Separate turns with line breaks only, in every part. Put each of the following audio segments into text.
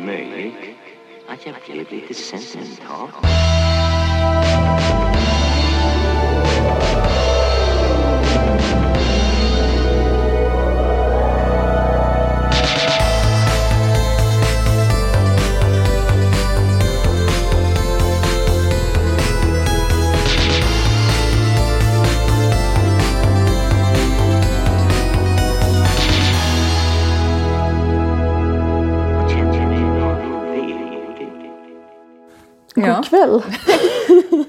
möjligt att jag blev lite sentimental. Och kände mig väldigt
Ja.
God kväll,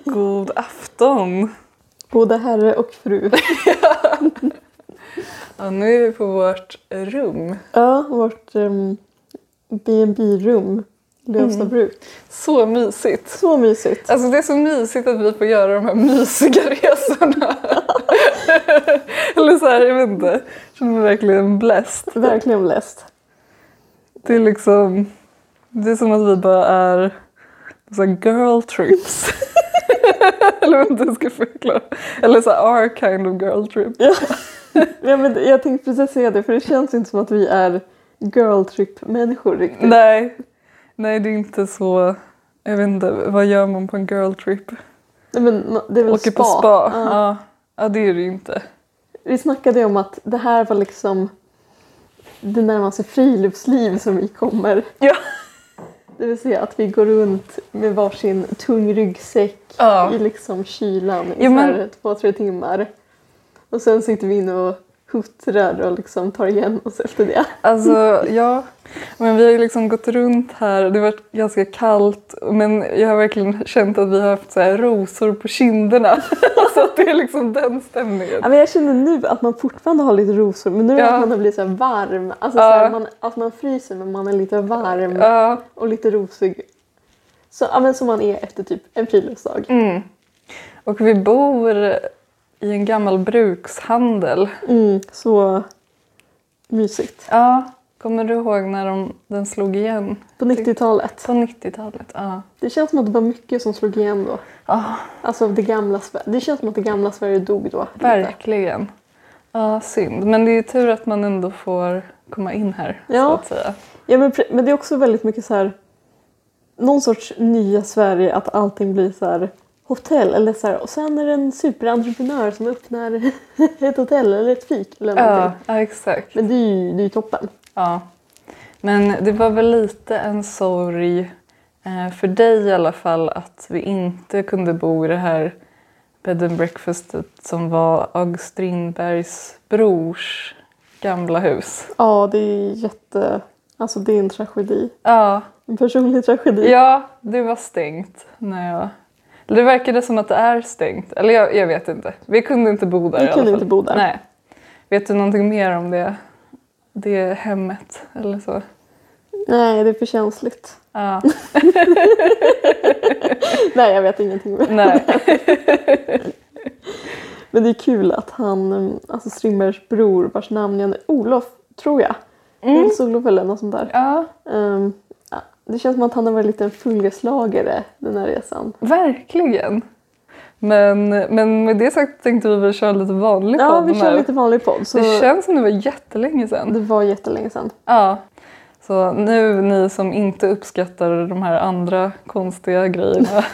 God afton!
både herre och fru.
Ja, nu är vi på vårt rum.
Ja, vårt um, B&B-rum, Lövstabruk.
Mm. Så mysigt!
Så mysigt.
Alltså det är så mysigt att vi får göra de här mysiga resorna. Eller så här, jag vet inte. Jag känner mig verkligen blessed.
Verkligen läst.
Det är liksom... Det är som att vi bara är så här girl trips. Eller vad jag ska förklara. Eller så här, our kind of girl trip.
Ja, men jag tänkte precis säga det, för det känns inte som att vi är girl trip-människor riktigt.
Nej. Nej, det är inte så... Jag vet inte, vad gör man på en girl trip?
Nej, men no- det är väl
Åker
spa.
på spa.
Ja.
Ja. ja, det är det ju inte.
Vi snackade ju om att det här var liksom det närmaste friluftsliv som vi kommer.
Ja.
Det vill säga att vi går runt med varsin tung ryggsäck
Ja.
i liksom kylan i
Jo, men-
så här två, tre timmar. Och sen sitter vi inne och huttrar och liksom tar igen oss efter det.
Alltså, ja. Men vi har ju liksom gått runt här. Det har varit ganska kallt. Men jag har verkligen känt att vi har haft så här rosor på kinderna. så att det är liksom den stämningen.
Ja, men jag känner nu att man fortfarande har lite rosor men nu
Ja.
att man har blivit så här varm. Alltså
Ja.
så här, man, att man fryser men man är lite varm
Ja.
och lite rosig. Så, ja, men som man är efter typ en friluftsdag.
Mm. Och vi bor i en gammal brukshandel.
Mm, så mysigt.
Ja. Kommer du ihåg när de, den slog igen?
På 90-talet.
På 90-talet? Ja.
Det känns som att det var mycket som slog igen då.
Ja,
Alltså det gamla Sverige. Det känns som att det gamla Sverige dog då. lite.
verkligen. Ja, synd. Men det är ju tur att man ändå får komma in här, så
Ja.
att säga.
Ja, men, pre- men det är också väldigt mycket så här. Någon sorts nya Sverige att allting blir så här hotell eller så här, och sen är det en superentreprenör som öppnar ett hotell eller ett fik eller
Ja,
någonting.
ja exakt.
Men det är ju, det är ju toppen.
Ja. Men det var väl lite en sorg eh, för dig i alla fall att vi inte kunde bo i det här bed and breakfastet som var Aug Strindbergs brors gamla hus.
Ja, det är jätte... Alltså det är en tragedi.
Ja,
En personlig tragedi.
ja det var stängt när jag... eller Det verkade som att det är stängt. Eller jag, jag vet inte. Vi kunde inte bo där
Vi
i alla
kunde
fall.
inte bo där.
Nej. Vet du någonting mer om det, det hemmet eller så?
Nej, det är för känsligt.
Ja.
Nej, jag vet ingenting.
Nej.
Men det är kul att han, eh, alltså Strindbergs bror vars namn jag nu- Olof tror jag.
Mm.
Nils-Olof eller något sånt där.
Ja,
Ehm, ja, det känns som att han har varit lite en följeslagare den här resan.
verkligen. Men, men med det sagt tänkte vi väl köra lite vanlig
Ja,
podd
vi
nu.
kör lite vanlig podd. Så
Det
det,
känns som det var jättelänge sedan.
var jättelänge sedan.
Ja. Så nu ni som inte uppskattar de här andra konstiga grejerna.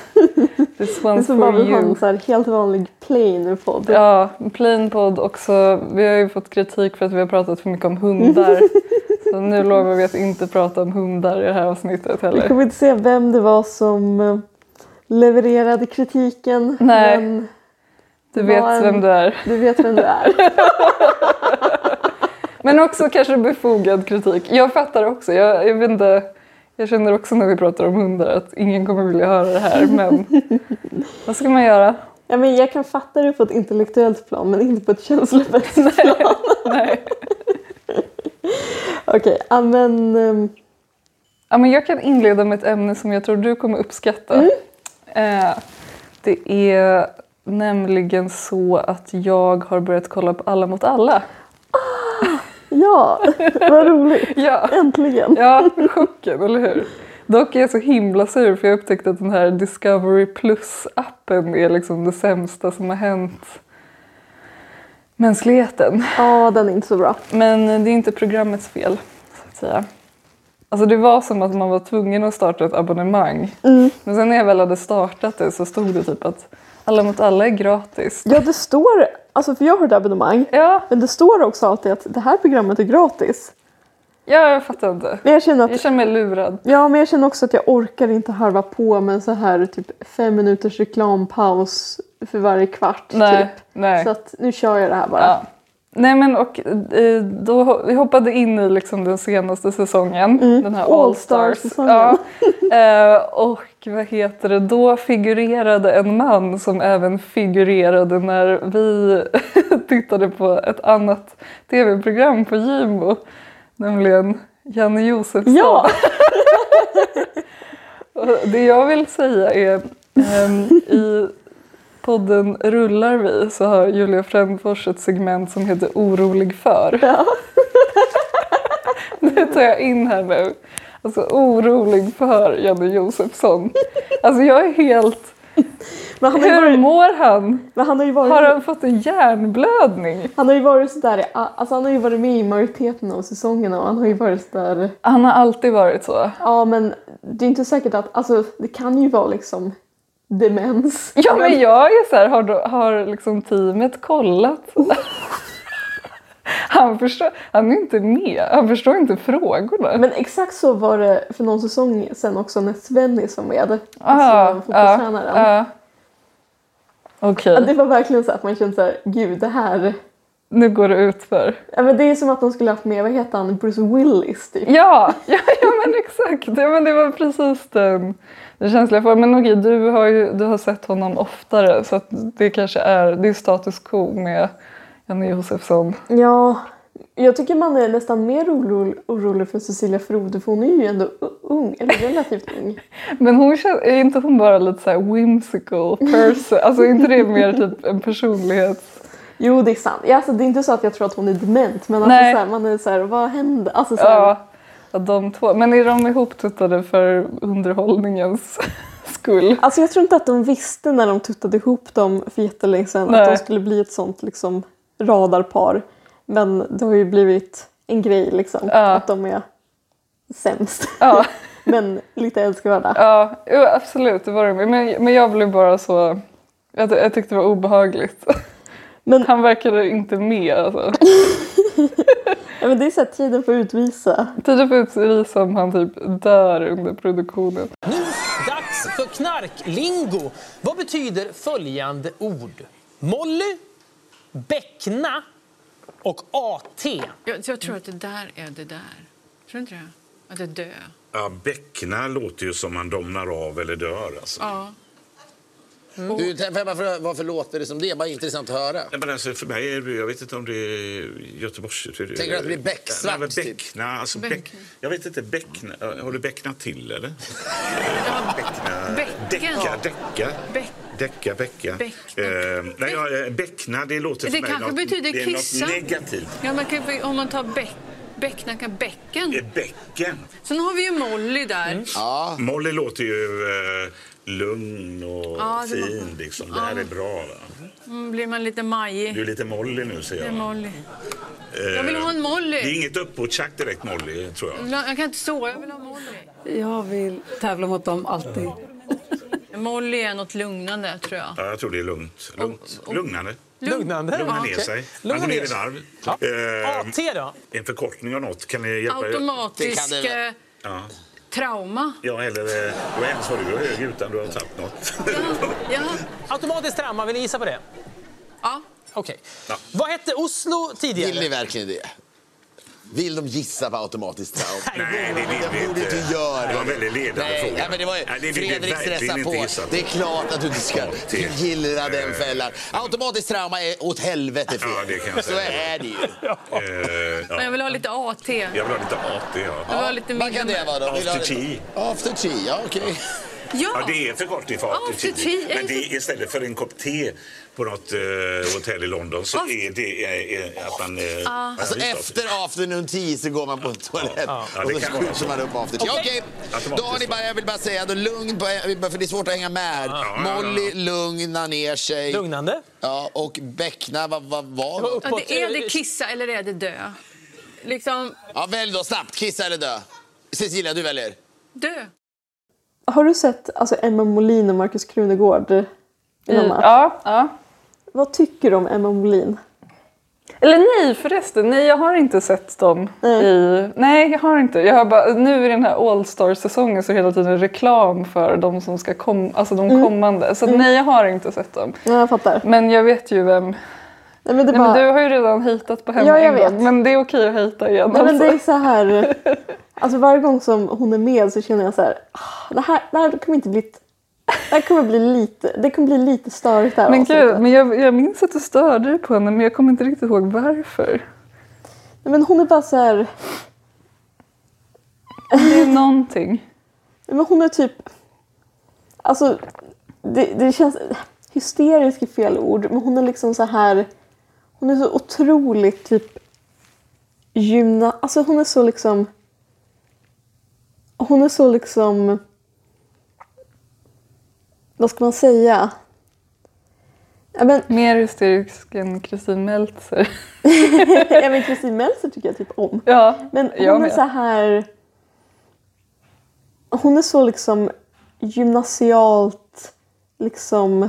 this
Det är
one's
som bara
for
vi har en
you.
så här helt vanlig plain podd.
Ja, plain podd också. Vi har ju fått kritik för att vi har pratat för mycket om hundar. så nu lovar vi att inte prata om hundar i det här avsnittet
Vi
heller.
kommer inte se vem det var som eh, levererade kritiken.
Nej.
Men
Du
Vad
vet
en-
vem du är.
du vet vem du är.
Men också kanske befogad kritik. Jag fattar också. Jag, jag, vet inte, jag känner också när vi pratar om hundar att ingen kommer vilja höra det här. Men vad ska man göra?
ja, men jag kan fatta det på ett intellektuellt plan men inte på ett känslomässigt
Nej.
plan.
Nej.
Okej, ja, men ehm,
Ja, men jag kan inleda med ett ämne som jag tror du kommer uppskatta. Eh, det är nämligen så att jag har börjat kolla på Alla mot alla.
ja, vad roligt.
Ja,
Äntligen.
ja chocken, eller hur? Dock är jag så himla sur för jag upptäckte att den här Discovery Plus-appen är liksom det sämsta som har hänt mänskligheten.
Ja, den är inte så bra.
Men det är inte programmets fel, så att säga. Alltså det var som att man var tvungen att starta ett abonnemang.
Mm.
Men sen när jag väl hade startat det så stod det typ att alla mot alla är gratis.
Ja, det står, alltså för jag har ett abonnemang,
Ja,
men det står också alltid att det här programmet är gratis.
ja jag fattar inte.
Men jag känner att
Jag känner mig lurad.
Ja, men jag känner också att jag orkar inte harva på med en så här typ fem minuters reklampaus för varje kvart.
Nej,
Typ.
nej.
Så att nu kör jag det här bara.
Ja. Nej men och eh, då ho- vi hoppade in i liksom den senaste säsongen,
Mm.
den här All Stars.
All-Star-säsongen.
Ja. Eh, och vad heter det, då figurerade en man som även figurerade när vi tittade på ett annat tv-program på Gimo, nämligen Janne Josefsson.
Ja!
Och Det jag vill säga är ehm, i podden Rullar vi så har Julia Frändfors ett segment som heter Orolig för.
Ja.
Det tar jag in här nu. Alltså orolig för Janne Josefsson. Alltså jag är helt...
Men han har ju
Hur
varit,
mår han?
men han har ju
Har
varit,
han fått en hjärnblödning?
han har ju varit sådär, i- alltså han har ju varit med i majoriteten av säsongerna och han har ju varit sådär,
Han har alltid varit så.
ja men det är inte säkert att, alltså det kan ju vara liksom demens.
Ja men jag är så här, har, då- har liksom teamet kollat? Han, förstår, han är inte med, han förstår inte frågorna.
Men exakt så var det för någon säsong sen också när Svennis var med.
Ah,
alltså fotbollstränaren.
ja, ja. ah. Okej,
Ja, Det var verkligen så att man kände såhär, gud det här
nu går det ut för.
Ja, men det är som att de skulle haft med, vad heter han, Bruce Willis typ.
Ja, ja, ja men exakt. Ja, men det var precis den, den känsliga formen. Men okej, du har ju du har sett honom oftare så att det kanske är, det är status quo med Janne Josefsson.
Ja, jag tycker man är nästan mer orolig, orolig för Cecilia Frode för hon är ju ändå u- ung, eller relativt ung.
Men hon känns, är inte hon bara lite så här whimsical person? Alltså är inte det mer typ en personlighet?
Jo, det är sant. Ja, alltså, det är inte så att jag tror att hon är dement men
Nej.
alltså, så här, man är så här, vad hände? Alltså, så här,
Ja, ja, de två. Men är de ihoptuttade för underhållningens skull?
alltså jag tror inte att de visste när de tuttade ihop dem för jättelänge sedan
Nej.
att de skulle bli ett sånt liksom, radarpar. Men det har ju blivit en grej liksom,
Ja.
att de är sämst
Ja.
men lite älskvärda.
Ja, jo, absolut. Det var det. Men, men jag blev bara så... Jag, ty- jag tyckte det var obehagligt.
Men-
Han verkade inte med. Alltså.
Ja, men det är så här, tiden får utvisa.
Tiden får utvisa om han typ dör under produktionen.
Dags för knarklingo. Vad betyder följande ord? Molly, bäckna och AT.
Jag, jag tror att det där är det där. Tror du inte det? Att det är dö.
Ja, bäckna låter ju som man domnar av eller dör. Alltså.
Ja.
Du, för- varför, varför låter det som det? Bara intressant att höra.
Nej, Men alltså, för mig är det, jag vet inte om det är Göteborgs...
Tänker du att det blir bäcksvart,
Nej, men
typ?
Bäckna, alltså, bäck,
Bäck.
jag vet inte, bäckna, har du bäcknat till eller?
Ja,
Bäckna,
Bäcken.
Däcka, däcka.
Bäck.
Däcka, bäcka.
Bäckna.
Eh, nej, jag, eh, bäckna, det låter för
Det
mig
kanske
något,
betyder
det är
kissa.
något negativt.
ja man kan, ju- om man tar bäck, bäcknacka
Eh,
bäcken.
Bäcken.
Sen har vi ju Molly där.
Mm.
Ah.
Molly låter ju eh, lugn och
Ja, det
fin.
låter-
Liksom. Det här är bra. Va?
Mm, blir man lite
Du
majig.
är lite Molly nu, ser
Det är
jag.
Molly. Jag vill ha en Molly.
Det är inget uppåttjack direkt, Molly, tror jag.
Jag kan inte sova, jag vill ha Molly.
Jag vill tävla mot dem alltid.
Molly är något lugnande tror jag.
Ja, jag tror det är lugnt. lugnt. Lugnande.
Lugnande.
Lugna ner
okej.
sig. Man
Lugna
går ner i
sig.
varv.
Ja.
Eh,
AT då?
en förkortning av något. Kan ni hjälpa?
Det kan
Automatisk
det väl.
eh,
Ja.
trauma.
Ja, eller eh, det var en som var du var hög utan du har tagit något.
Ja, ja,
Automatiskt trauma, vill ni gissa på det?
ja.
Okej. Vad hette Oslo tidigare?
Vill ni verkligen det? Vill de gissa på automatiskt trauma?
Nej, det vill vi
Det borde
inte.
du inte göra.
Det var en väldigt ledande
Nej,
fråga.
nej, men det var ju,
Nej, det vill vi
Fredrik
verkligen
stressar
inte
på.
gissa
Det är klart att du inte ska
Ja, det-
gilla den
eh,
fällan. Automatiskt trauma är åt helvete fel.
Ja, det kan jag
Så
säga.
är det ju.
Eh,
Men jag
ja.
vill ha lite AT. Jag
Jag vill ha lite AT, ja.
vill ha lite
Vad kan det
middag.
vara då? Vill du ha
After
det- After tea, ja okej.
Ja,
Ja,
det är förkortning för
Ja,
after
after tea.
tea. Men det är istället för en kopp te på något eh, hotell i London så
After-
är det eh, eh, att man... eh, man
Alltså
har visst
efter afternoon tea så går man på en toalett
Ja,
och
det
så
kan vara
skjuter
så.
man upp after tea. Okej, då har ni
Automatiskt.
bara, jag vill bara säga, då lugn, på- för det är svårt att hänga med.
ja, ja.
Molly, lugna ner sig.
Lugnande.
Ja, och Bäckna, vad vad var
var
det?
ja, det är det kissa eller är det dö? Liksom,
Ja, välj då snabbt, kissa eller dö. Cecilia, du väljer.
Dö.
Har du sett alltså, Emma Molin och Markus Krunegård i någon match?
Ja, ja.
Vad tycker du om Emma Molin?
Eller nej förresten, nej jag har inte sett dem.
Nej.
I, nej jag har inte. Jag har bara, nu i den här All Star-säsongen så är det hela tiden reklam för de som ska kom, alltså de
Mm.
kommande. Så nej jag har inte sett dem.
Ja, jag fattar.
Men jag vet ju vem.
Nej, men det är
Nej,
bara...
men du har ju redan hejtat på henne
Ja, jag
en gång
vet.
men det är okej att hejta igen.
Nej, men det
alltså.
är så här... Alltså varje gång som hon är med så känner jag så här... "Ah, Det här, det här kommer inte bli... Det här kommer bli lite... Det kommer bli lite störigt där
Men gud, men jag, jag minns att du störde dig på henne men jag kommer inte riktigt ihåg varför.
Nej, men hon är bara så här...
Det är någonting.
Nej, Men hon är typ... Alltså, det, det känns... Hysterisk är fel ord, men hon är liksom så här... Hon är så otroligt typ... Gymna... Alltså hon är så liksom... Hon är så liksom... Vad ska man säga? Ja, men,
Mer hysterisk än Kristin Meltzer.
ja, men Kristin Meltzer tycker jag typ om.
Ja,
Men
jag
hon är
med.
så här... Hon är så liksom gymnasialt liksom...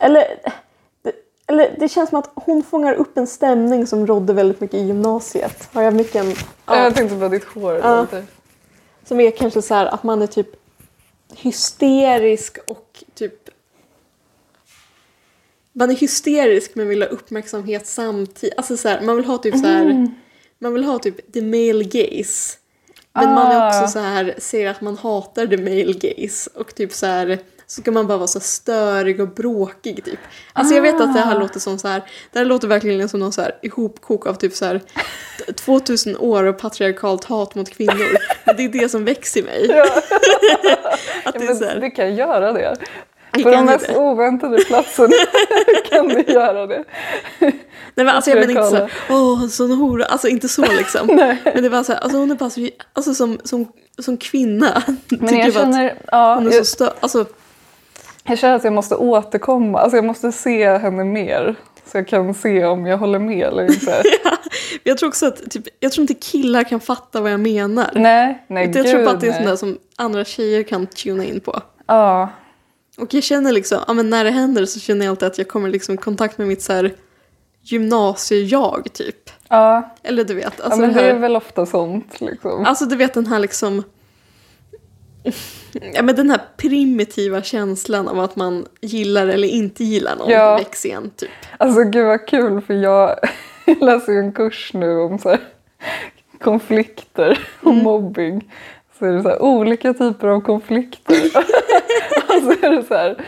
Eller, det- eller det känns som att hon fångar upp en stämning som rådde väldigt mycket i gymnasiet. Har jag mycket en, ja,
Jag tänkte på ditt hår.
Ja.
Lite.
som är kanske så här att man är typ hysterisk och typ... Man är hysterisk men vill ha uppmärksamhet samtidigt. Alltså så här, man vill ha typ så här...
Mm.
Man vill ha typ the male gaze. Men man är
Ah.
också så här, ser att man hatar the male gaze och typ så här så kan man bara vara så störig och bråkig typ. Alltså jag vet att det
Ah.
här låter som så här, det här låter verkligen som någon så här ihopkok av typ så här 2000 år av patriarkalt hat mot kvinnor. Men det är det som växer i mig. att det är så
Men
här,
det kan göra det.
Det
På
kan
de
det.
mest oväntade platserna kan det göra det.
nej men alltså jag menar inte så här,
patriarkala.
åh en sån hora, alltså inte så liksom. men det var så här, alltså hon är bara så, alltså som, som, som kvinna
Men jag
jag
känner,
att
ja,
hon är
jag,
så stö- alltså
jag känner att jag måste återkomma. Alltså jag måste se henne mer. Så jag kan se om jag håller med eller inte.
Jag tror också att typ, jag tror inte killar kan fatta vad jag menar.
nej, nej
jag
gud
tror bara att det är
nej.
sånt där som andra tjejer kan tuna in på.
Ja,
Och jag känner liksom, ja, men när det händer så känner jag alltid att jag kommer liksom i kontakt med mitt så här gymnasie-jag typ.
ja.
Eller du vet,
ja,
alltså,
men
det
det
här,
är väl ofta sånt liksom.
alltså du vet den här liksom Ja, men den här primitiva känslan av att man gillar eller inte gillar någon
Ja.
växer igen. Typ.
Alltså gud vad kul för jag läser ju en kurs nu om så här, konflikter och mobbing. Så är det så här, olika typer av konflikter. och så är det så här,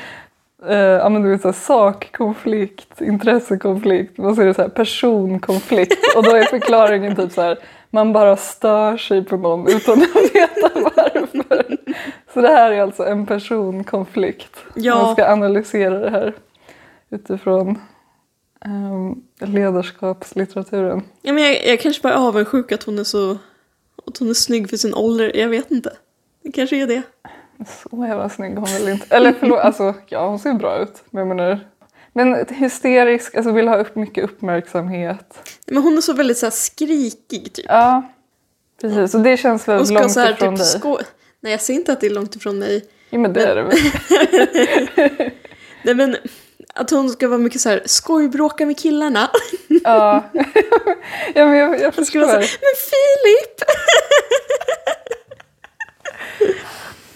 eh, ja, men du vet, så här, sakkonflikt, intressekonflikt och så är det så här, personkonflikt. Och då är förklaringen typ så här, man bara stör sig på någon utan att veta varför. Så det här är alltså en personkonflikt.
Ja.
Man ska analysera det här utifrån ehm, ledarskapslitteraturen.
Ja, men jag, jag kanske bara är avundsjuk att hon är så att hon är snygg för sin ålder. Jag vet inte. Det kanske är det.
Så jävla snygg hon väl inte. Eller förlåt, alltså ja hon ser bra ut. Men jag menar, men hysterisk, alltså vill ha upp mycket uppmärksamhet.
Men hon är så väldigt så här skrikig typ.
Ja, precis. Och det känns väl
Och ska
långt
så här,
ifrån
typ,
dig?
Sko- Nej jag ser inte att det är långt ifrån mig.
Jo men det är det väl.
Nej men att hon ska vara mycket så här skojbråka med killarna.
Ja, ja men jag, jag
Hon ska vara så
förstår.
här, Alltså, men Filip!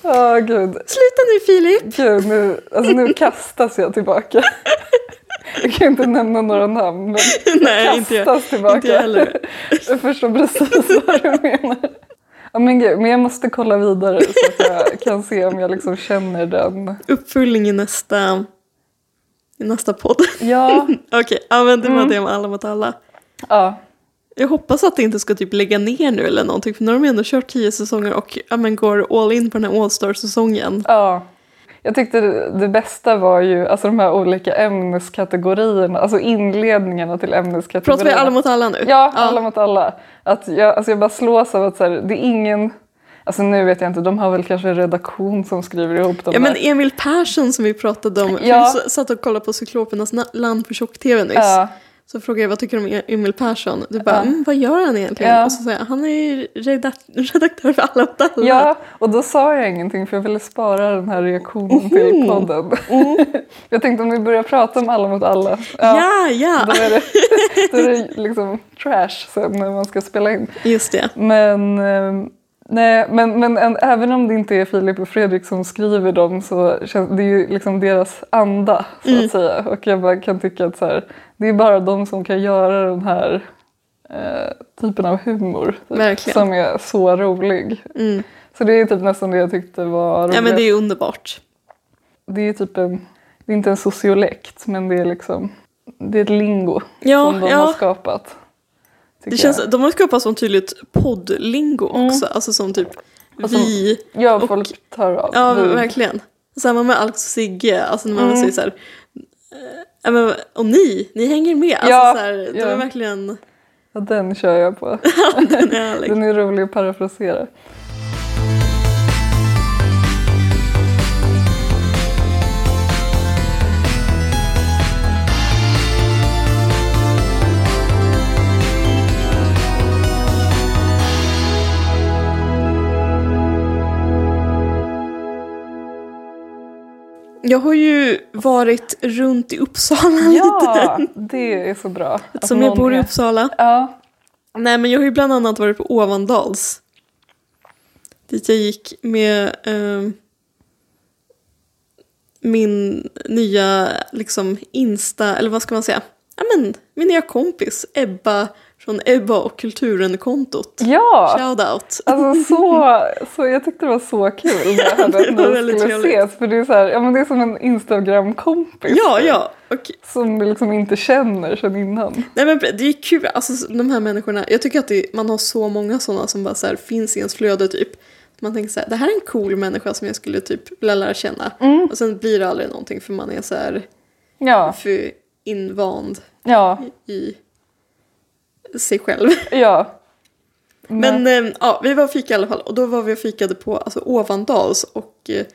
Ja gud.
Sluta nu Filip!
Gud, nu, alltså nu kastas jag tillbaka. Jag kan inte nämna några namn men
Nej inte jag.
kastas tillbaka.
Inte jag heller.
Jag förstår precis vad du menar. Ja, men, gud, men jag måste kolla vidare så att jag kan se om jag liksom känner den.
Uppföljning i nästa, i nästa podd.
Ja,
Okej, ja men det
Mm.
var det med Alla mot alla.
ja,
Jag hoppas att det inte ska typ lägga ner nu eller någonting för nu har de ändå kört tio säsonger och ja, men går all in på den här All Star-säsongen.
ja. Jag tyckte det, det bästa var ju alltså, de här olika ämneskategorierna, alltså inledningarna till ämneskategorierna.
Pratar vi Alla mot alla nu?
Ja, alla mot alla. Att jag, alltså jag bara slås av att så här, det är ingen... Alltså nu vet jag inte, de har väl kanske en redaktion som skriver ihop de
Ja men
här.
Emil Persson som vi pratade om,
Ja.
ja. vi s- satt och kollade på Cyklopernas na- land på tjock-tv nyss.
Ja,
Så frågar jag vad tycker du om E- Emil Persson? Du bara, mm, vad gör han egentligen?
Ja.
Och så säger jag, han är ju redak- redaktör för alla åt alla.
Ja, och då sa jag ingenting för jag ville spara den här
Mhm.
reaktionen till podden. jag tänkte om vi börjar prata om alla mot alla.
Mm. ja, ja.
Då är det, då är det liksom trash sen när man ska spela in.
Just det.
Men, eh, nej, men, men en, även om det inte är Filip och Fredrik som skriver dem så känns det är ju liksom deras anda så
Mm.
att säga. Och jag bara kan tycka att så här, det är bara de som kan göra den här eh, typen av humor typ,
Verkligen. Mm.
som är så rolig. Så det är typ nästan det jag tyckte var roligt.
Ja, men det är ju underbart.
det är typ en, det är inte en sociolekt men det är liksom, det är ett lingo
Ja,
som de
ja.
har skapat.
Det
tycker
känns,
jag.
de har skapat sån tydligt poddlingo också. Alltså som typ
Mm. som- Mm.
vi.
Ja,
och-
folk tar av.
Ja,
vid-
verkligen. Samma med Alex och Sigge. Alltså när man
Mm.
säger så här. eh, ja, men, och ni, ni hänger med. Alltså,
Ja,
så här, de
ja.
är verkligen
Ja, den kör jag på.
den är härlig.
Den är rolig att parafrasera.
Jag har ju varit runt i Uppsala
Ja, det är så bra.
lite.
att
Som jag
någon
bor i
är-
Uppsala.
Ja,
Nej men jag har ju bland annat varit på Ovandals. Dit jag gick med ehm, min nya liksom Insta, eller vad ska man säga? Ja men, min nya kompis Ebba från Ebba och kulturen-kontot.
ja.
Shoutout.
Alltså så, så, jag tyckte det var så kul när jag hörde
det
att
var
ni
väldigt
skulle
trevligt.
ses. För det är, så här, ja, men det är som en Instagram-kompis
Ja, ja. Och,
som vi liksom inte känner sedan innan.
nej men det är kul, alltså de här människorna. Jag tycker att det, man har så många sådana som bara så här, finns i ens flöde typ. Man tänker så här, det här är en cool människa som jag skulle typ vilja lära känna. Och sen blir det aldrig någonting för man är så här
Ja,
för invand
ja,
i sig själv.
ja.
Men eh, ja, vi var och fika i alla fall och då var vi och fikade på alltså, Ovandals och eh,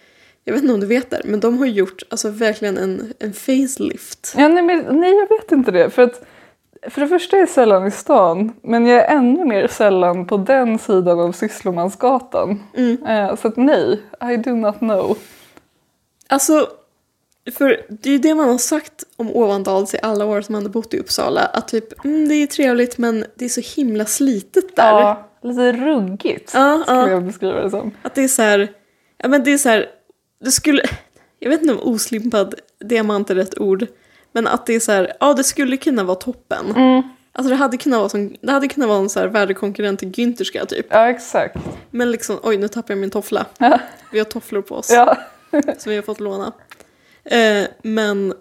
jag vet inte om du vet det, men de har gjort alltså, verkligen en, en facelift.
Ja, nej, men, nej, jag vet inte det. För, att, för det första är jag sällan i stan, men jag är ännu mer sällan på den sidan av Sysslomansgatan.
Mm.
Eh, så att nej, I do not know.
Alltså, för det är ju det man har sagt om Ovandals i alla år som man har bott i Uppsala, att typ mm, det är trevligt men det är så himla slitet där.
Ja, lite ruggigt
Ja,
skulle
ja.
jag beskriva det som.
Att det är så här, ja men det är så här, det skulle, jag vet inte om oslimpad diamant är rätt ord, men att det är så här, ja det skulle kunna vara toppen.
Mm.
Alltså det hade kunnat vara, som, det hade kunnat vara en så här värdekonkurrent till Güntherska typ.
Ja, exakt.
Men liksom, oj nu tappar jag min toffla. Vi har tofflor på oss
Ja,
som vi har fått låna. Eh, men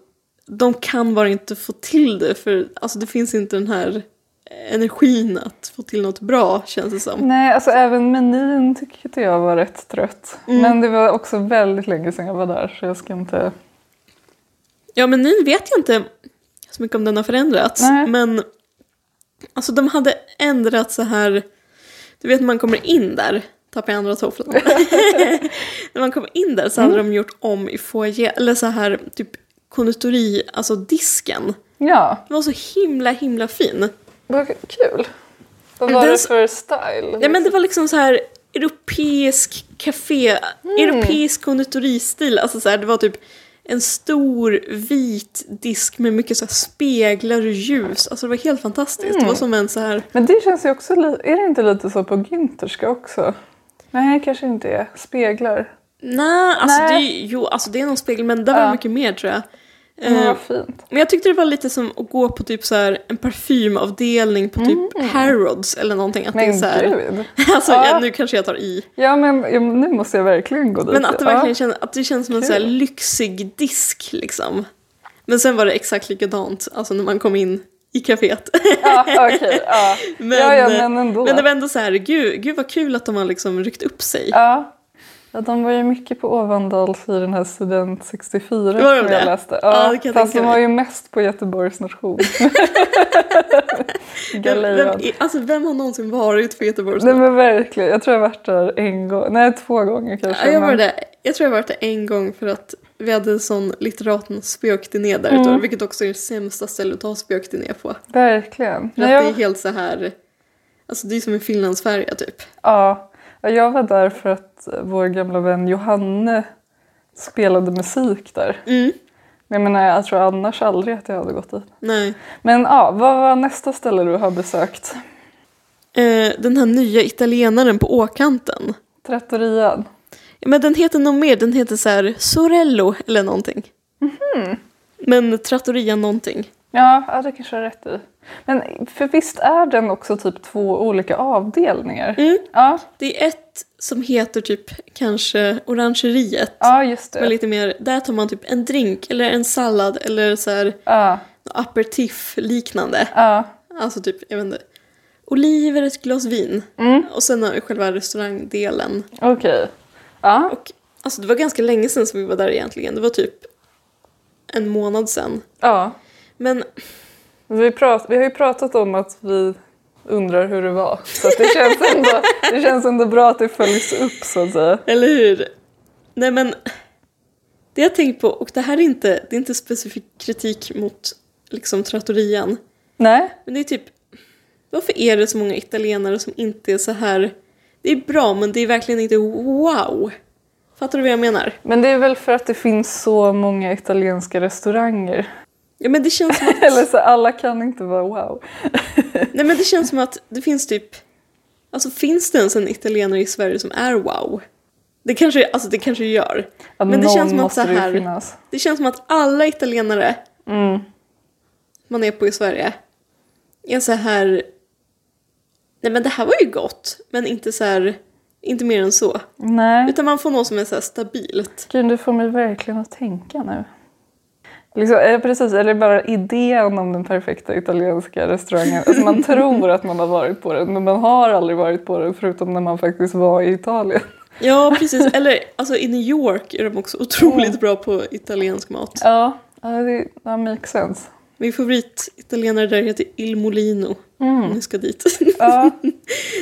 de kan bara inte få till det för alltså det finns inte den här energin att få till något bra känns det som.
nej, alltså även menyn tyckte jag var rätt trött.
Mm.
Men det var också väldigt länge sedan jag var där så jag ska inte...
Ja, men nu vet jag inte så mycket om den har förändrats.
Nej.
Men alltså de hade ändrat så här, du vet när man kommer in där, tappar jag andra tofflan. när man kom in där så hade de gjort om i foyer, eller så här typ konditori, alltså disken.
Ja,
Den var så himla himla fin.
vad kul. Vad
Men
var
den
det
s-
för style?
Nej men det var liksom så här europeisk café,
Mm.
europeisk konditoristil. Alltså så här, det var typ en stor vit disk med mycket så här speglar och ljus. Alltså det var helt fantastiskt.
Mm.
Det var som en så här,
Men det känns ju också, li- är det inte lite så på Güntherska också? Nej, kanske inte är. Speglar.
nej alltså
Nej.
det är ju- jo alltså det är någon spegel men där var det
Ja.
mycket mer tror jag.
Men
Eh,
vad fint.
Men jag tyckte det var lite som att gå på typ så här en parfymavdelning på typ Harrods eller någonting. Att det är
Mm. Men
så här,
gud.
alltså
Ja.
ja, nu kanske jag tar i.
Ja, men ja, men nu måste jag verkligen gå dit.
Men att det
Ja.
verkligen känns, att det känns som en
Kul.
så här lyxig disk liksom. Men sen var det exakt likadant, alltså när man kom in i kaféet.
Ja, okej. ja.
men,
ja, ja, men ändå.
men det var ändå så här, gud, gud vad kul att de har liksom ryckt upp sig.
ja. ja, de var ju mycket på Ovandals i den här Student 64
de
som jag
det?
läste.
Ja,
Ja,
det kan jag
fast
tänka
de var
mig.
ju mest på Göteborgs nation.
Vem,
Galejan.
vem, är- alltså vem har någonsin varit på Göteborgs
Nej men verkligen, jag tror jag varit där en gång, nej två gånger kanske.
Ja, jag, var
men-
där, jag tror jag varit där en gång för att Vi hade en sån litteraten spökdiné där ett
Mm.
år, vilket också är det sämsta stället att ha spökdiné på.
Verkligen.
För
När
att det är
jag,
helt så här... Alltså det är som en finlandsfärja typ.
ja, ja, jag var där för att vår gamla vän Johanne spelade musik där.
Mm.
Men jag menar, jag tror annars aldrig att jag hade gått dit.
Nej.
Men ja, vad var nästa ställe du har besökt?
Eh, den här nya italienaren på åkanten.
Trattorian.
Ja, men den heter nog mer, den heter så här Sorello eller någonting.
Mhm.
Men Trattoria någonting.
Ja, ja, det kanske du har rätt i. Men för visst är den också typ två olika avdelningar?
Mm.
Ja,
Det är ett som heter typ kanske Orangeriet.
ja, just det.
Men lite mer, där tar man typ en drink eller en sallad eller så här
Ja,
aperitif liknande.
ja.
Alltså typ, jag vet inte. Oliver, ett glas vin.
Mm.
Och sen har vi själva restaurangdelen.
Okej. Ja.
Och alltså det var ganska länge sedan som vi var där egentligen. Det var typ en månad sedan.
ja.
Men
Vi, prat, vi har ju pratat om att vi undrar hur det var. Så att det, känns ändå, det känns ändå bra att det följs upp så att säga.
Eller hur? Nej men, det jag tänkt på, och det här är inte, det är inte specifik kritik mot liksom trattorian,
Nej?
men det är typ, varför är det så många italienare som inte är så här, det är bra men det är verkligen inte wow. Fattar du vad jag menar?
Men det är väl för att det finns så många italienska restauranger.
Ja, men det känns som att,
Eller så alla kan inte vara wow.
nej men det känns som att det finns typ, alltså finns det ens en italienare i Sverige som är wow? Det kanske, alltså det kanske gör.
Ja,
Men det
någon
känns som att
måste
så
det ju
här,
finnas. Mm.
Det känns som att alla italienare man är på i Sverige är så här... Nej men det här var ju gott, men inte så här... Inte mer än så.
Nej.
Utan man får något som är så här stabilt.
Gud, du får mig verkligen att tänka nu. Liksom, eh, precis, eller bara idén om den perfekta italienska restaurangen. Alltså man tror att man har varit på den, men man har aldrig varit på den förutom när man faktiskt var i Italien.
Ja precis, eller alltså i New York är de också
Mm.
otroligt bra på italiensk mat.
Ja, ja, det ja, makes sense.
Min favorit italienare där heter Il Molino.
Mm.
Om ni ska dit.
Ja,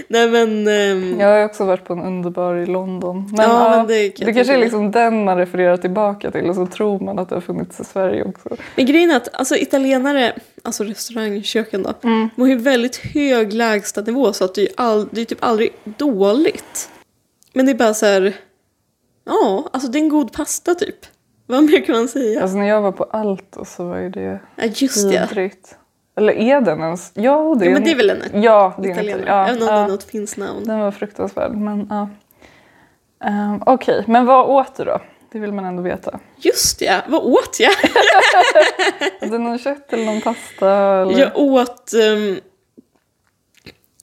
Nej men... ehm,
jag har ju också varit på en underbar i London. Men,
Ja,
ja,
men det
det,
kan jag
kanske är
tänka mig.
liksom den man refererar tillbaka till och så tror man att det har funnits i Sverige också.
Men grejen är att alltså, italienare, alltså restaurangköken då,
Mm.
de har ju väldigt hög lägstanivå så att det är, ju all, det är typ aldrig dåligt. Men det är bara så här, ja, alltså det är en god pasta typ. Vad mer kan man säga?
Alltså när jag var på Alto så var ju det
Ja, just det.
vidrigt. Eller är den ens? Ja, det är,
Ja, men
en-
det är väl en
Ja, det är en
italienare,
italienare.
även om
Ja,
den
ja.
har ett finskt namn.
Den var fruktansvärd, men ja. Ehm, Okej, men vad åt du då? Det vill man ändå veta.
Just ja, vad åt jag?
Åt du någon kött eller någon pasta? Eller?
Jag åt, ehm,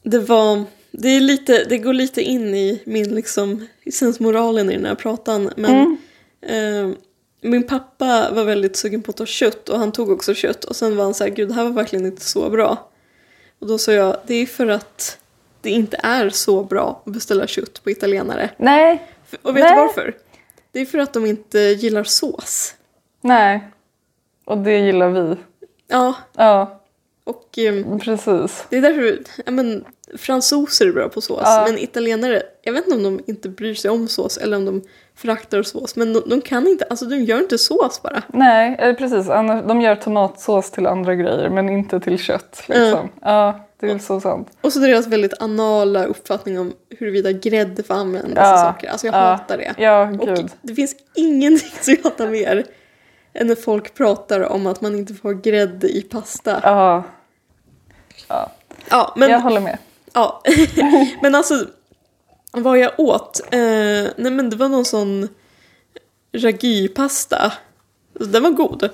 det var, det är lite, det går lite in i min liksom, sensmoralen i den här pratan men ehm, min pappa var väldigt sugen på att ta kött och han tog också kött och sen var han så här, gud det här var verkligen inte så bra. Och då sa jag, det är för att det inte är så bra att beställa kött på italienare.
Nej,
F- Och vet du
Nej.
varför? Det är för att de inte gillar sås.
nej. Och det gillar vi.
Ja,
Ja,
och ehm,
precis.
Det är därför, ja men fransoser är bra på sås
Ja.
men italienare, jag vet inte om de inte bryr sig om sås eller om de föraktar sås men de, de kan inte, alltså de gör inte sås bara.
Nej, eh, precis. Annars, de gör tomatsås till andra grejer, men inte till kött. Liksom. Ja, det är så sant.
Och så deras väldigt anala uppfattning om huruvida grädde får användas och
Ja.
saker, alltså jag
Ja.
hatar det.
Ja,
Och
gud.
det finns ingenting som jag hatar mer än när folk pratar om att man inte får ha grädde i pasta.
Ja,
Ja, men
jag håller med.
Ja, men alltså vad jag åt? Eh, nej men det var någon sån ragypasta. Alltså, Den var god.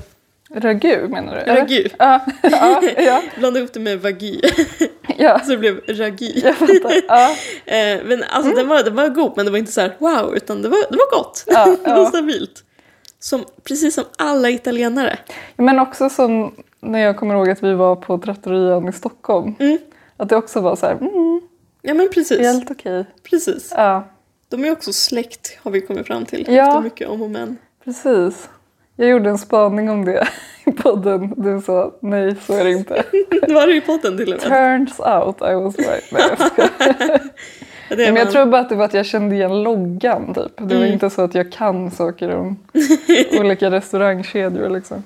Ragu menar du? eller?
Ragu.
Ja, ja, ja,
Blandade ihop det med vagy
ja.
så det blev ragy.
Jag fattar. Ja, Mm.
Eh, men alltså den, var, den var god men det var inte så här wow utan det var, det var gott.
Ja,
det var
ja.
stabilt. Som, precis som alla italienare.
Men också som när jag kommer ihåg att vi var på Trattorian i Stockholm.
Mm.
Att det också var så här, mm,
Ja men precis.
helt okej.
precis.
Ja,
De är också släkt har vi kommit fram till
Ja.
efter mycket om och men.
precis. Jag gjorde en spaning om det i podden. Du sa nej, så är det inte.
Det var det i podden till och med.
Turns out I was right. Nej, jag skojar.
det
Men jag
var-
tror bara att det var att jag kände igen loggan typ. Det
Mm.
var inte så att jag kan saker om olika restaurangkedjor liksom.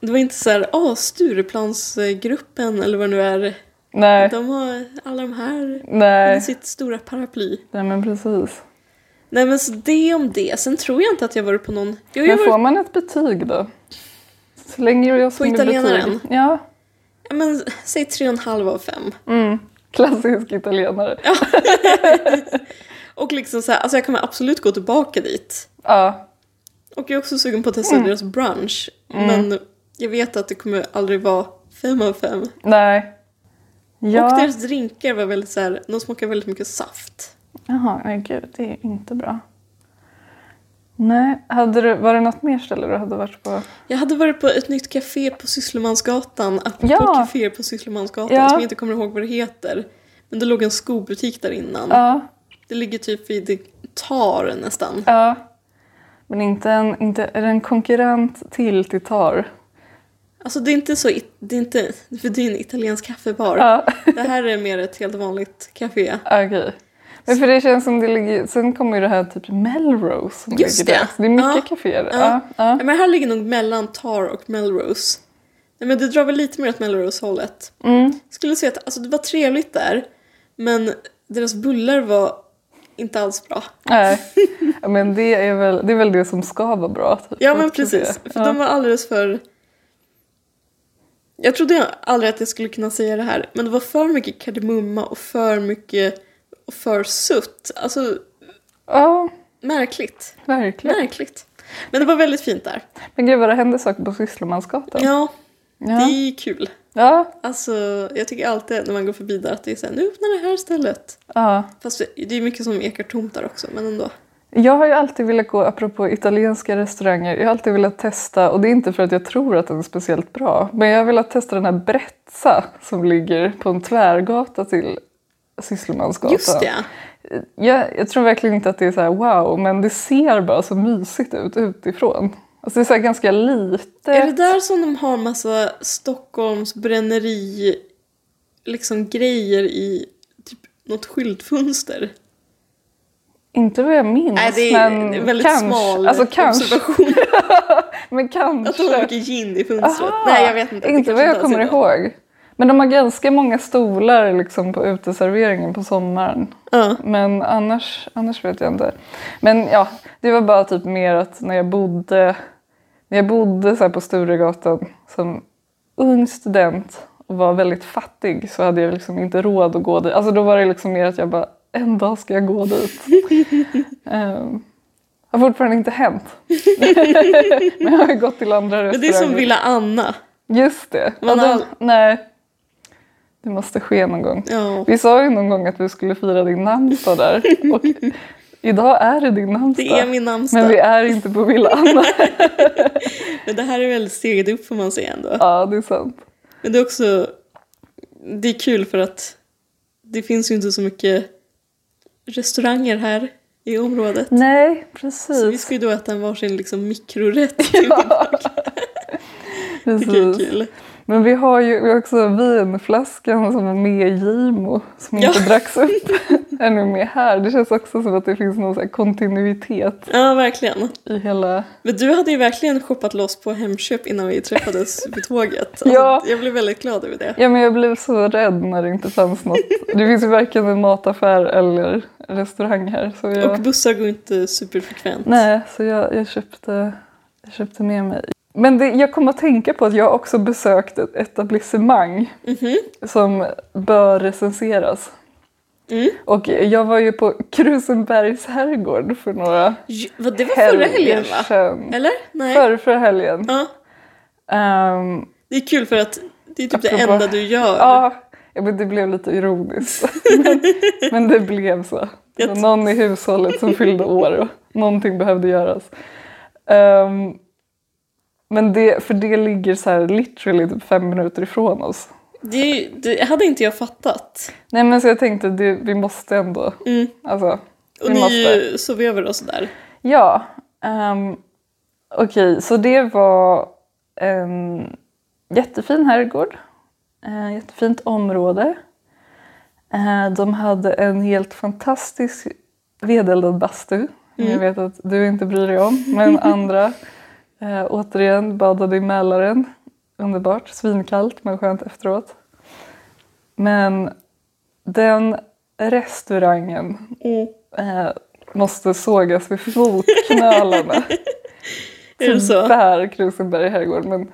Det var inte så här, ah, Stureplansgruppen eller vad det nu är.
Nej,
De har alla de här
nej,
under sitt stora paraply.
nej men precis.
Nej men så det om det. Sen tror jag inte att jag varit på någon... Jo, jag
Men
har
får
varit
man ett betyg då? Slänger jag som ett
italienaren?
betyg? Ja,
ja, men, säg tre och en halv av fem.
klassisk italienare. Ja.
Och liksom så här, alltså jag kommer absolut gå tillbaka dit. Och jag är också sugen på att testa
Mm.
deras brunch. Men jag vet att det kommer aldrig vara fem av fem.
nej.
Och
Ja,
deras drinkar var väldigt så här, de smakar väldigt mycket saft.
jaha, nej gud, det är inte bra. Nej, hade du, var det något mer ställe du hade varit på?
Jag hade varit på ett nytt café på Sysslemansgatan, apropå
Ja.
kaféer på Sysslemansgatan
Ja.
som jag inte kommer ihåg vad det heter. Men det låg en skobutik där innan.
Ja,
Det ligger typ vid Tar nästan.
ja. Men inte en, inte, är det en konkurrent till till Tar?
Alltså det är inte så, it- det är inte, för det är en italiensk kaffebar.
Ja,
Det här är mer ett helt vanligt café.
okej. Men för det känns som det ligger, sen kommer ju det här typ Melrose som
Just
ligger där.
det.
Så det är mycket
Ja.
kaféer.
Ja.
Ja, ja.
Ja, men det här ligger nog mellan Tar och Melrose. Nej, men det drar väl lite mer åt Melrose-hållet.
Mm.
Skulle säga att alltså, det var trevligt där, men deras bullar var inte alls bra.
Nej, Ja, men det är, väl, det är väl det som ska vara bra. Typ,
Ja men
Också
precis,
det.
för de var alldeles för... Jag trodde jag aldrig att jag skulle kunna säga det här, men det var för mycket kardemumma och för mycket och för sutt. Alltså
Ja,
märkligt.
verkligen.
Märkligt. Men det var väldigt fint där.
Men gud vad det händer saker på Sysslemansgatan.
Ja, det
Ja.
är kul.
Ja.
Alltså, jag tycker alltid när man går förbi där att det är såhär, nu öppnar det här stället.
ja.
Fast det är mycket som ekar tomt där också, men ändå.
Jag har ju alltid velat gå, apropå italienska restauranger, jag har alltid velat testa, och det är inte för att jag tror att den är speciellt bra, men jag har velat testa den här Brezza som ligger på en tvärgata till Sysslemansgatan.
Just det,
Jag, jag tror verkligen inte att det är så här wow, men det ser bara så mysigt ut utifrån. Alltså det är så här ganska litet.
Är det där som de har massa Stockholms bränneri liksom grejer i typ något skyltfönster?
Inte vad jag minns,
Nej, det är
Mm. men
en väldigt
kanske.
smal
alltså, kanske.
observation.
Men
Att de har
kanske.
mycket gin i fönstret. Nej, jag vet inte. Det
Inte
kanske
vad jag
alls är
kommer
bra.
ihåg. Men de har ganska många stolar liksom på uteserveringen på sommaren.
Ja.
Men annars, annars vet jag inte. Men ja, det var bara typ mer att när jag bodde, när jag bodde så här på Sturegatan som ung student och var väldigt fattig så hade jag liksom inte råd att gå dit. Alltså då var det liksom mer att jag bara, en dag ska jag gå dit. um, har fortfarande inte hänt. Men jag har ju gått till andra restauranger.
Men det är som Villa Anna.
Just det. Ja,
Man
då,
har-
nej. Det måste ske någon gång.
Ja.
Vi sa ju någon gång att vi skulle fira din namnsdag där. Och idag är det din namnsdag.
Det är min namnsdag.
Men
Men,
vi är inte på Villa Anna.
det här är väldigt steget upp får man säga ändå.
Ja, det är sant.
Men det är också... Det är kul för att det finns ju inte så mycket restauranger här i området.
Nej,
Så vi
precis.
ska ju då äta en varsin liksom mikrorätt. Det tycker jag är
precis.
kul.
Men vi har ju också vinflaskan som var med i Gimo som
Ja.
inte dracks upp. är nu med här. Det känns också som att det finns någon så här kontinuitet
Ja, verkligen.
i hela...
Men du hade ju verkligen shoppat loss på Hemköp innan vi träffades vid tåget. Alltså,
Ja.
Jag blev väldigt glad över det.
Ja men jag blev så rädd när det inte fanns något. Det finns ju varken en mataffär eller restaurang här. Så jag,
Och bussar går inte superfrekvent.
nej, så jag, jag, köpte, jag köpte med mig. Men det, jag kom att tänka på att jag också besökt ett etablissemang
Mhm.
som bör recenseras.
Mm.
Och jag var ju på Krusenbergs herrgård för några
J- vad, det var förra helgen va?
sedan.
Eller? Nej.
Förr, förra helgen.
Ja.
Ehm,
Det är kul för att det är typ det
Apropå-
enda du gör.
Ja, ja, men det blev lite ironiskt. men, men det blev så. Det var någon i hushållet som fyllde år och någonting behövde göras. Ehm, men det, för det ligger så här literally typ fem minuter ifrån oss.
Det, är ju- det hade inte jag fattat.
Nej men så jag tänkte det, vi måste ändå. Alltså,
Mm. Och
vi måste.
ni sov över och sådär.
Ja. Um, Okej, så det var ehm, en jättefin herrgård. Eh, jättefint område. Eh, De hade en helt fantastisk vedeldad bastu. som Jag vet att du inte bryr dig om. Men andra, eh, återigen, badade i Mälaren. Underbart. Svinkallt men skönt efteråt. Men den restaurangen
Mm.
eh, måste sågas vid fotknölarna.
Är det så?
Tyvärr Krusenberg herrgård. Men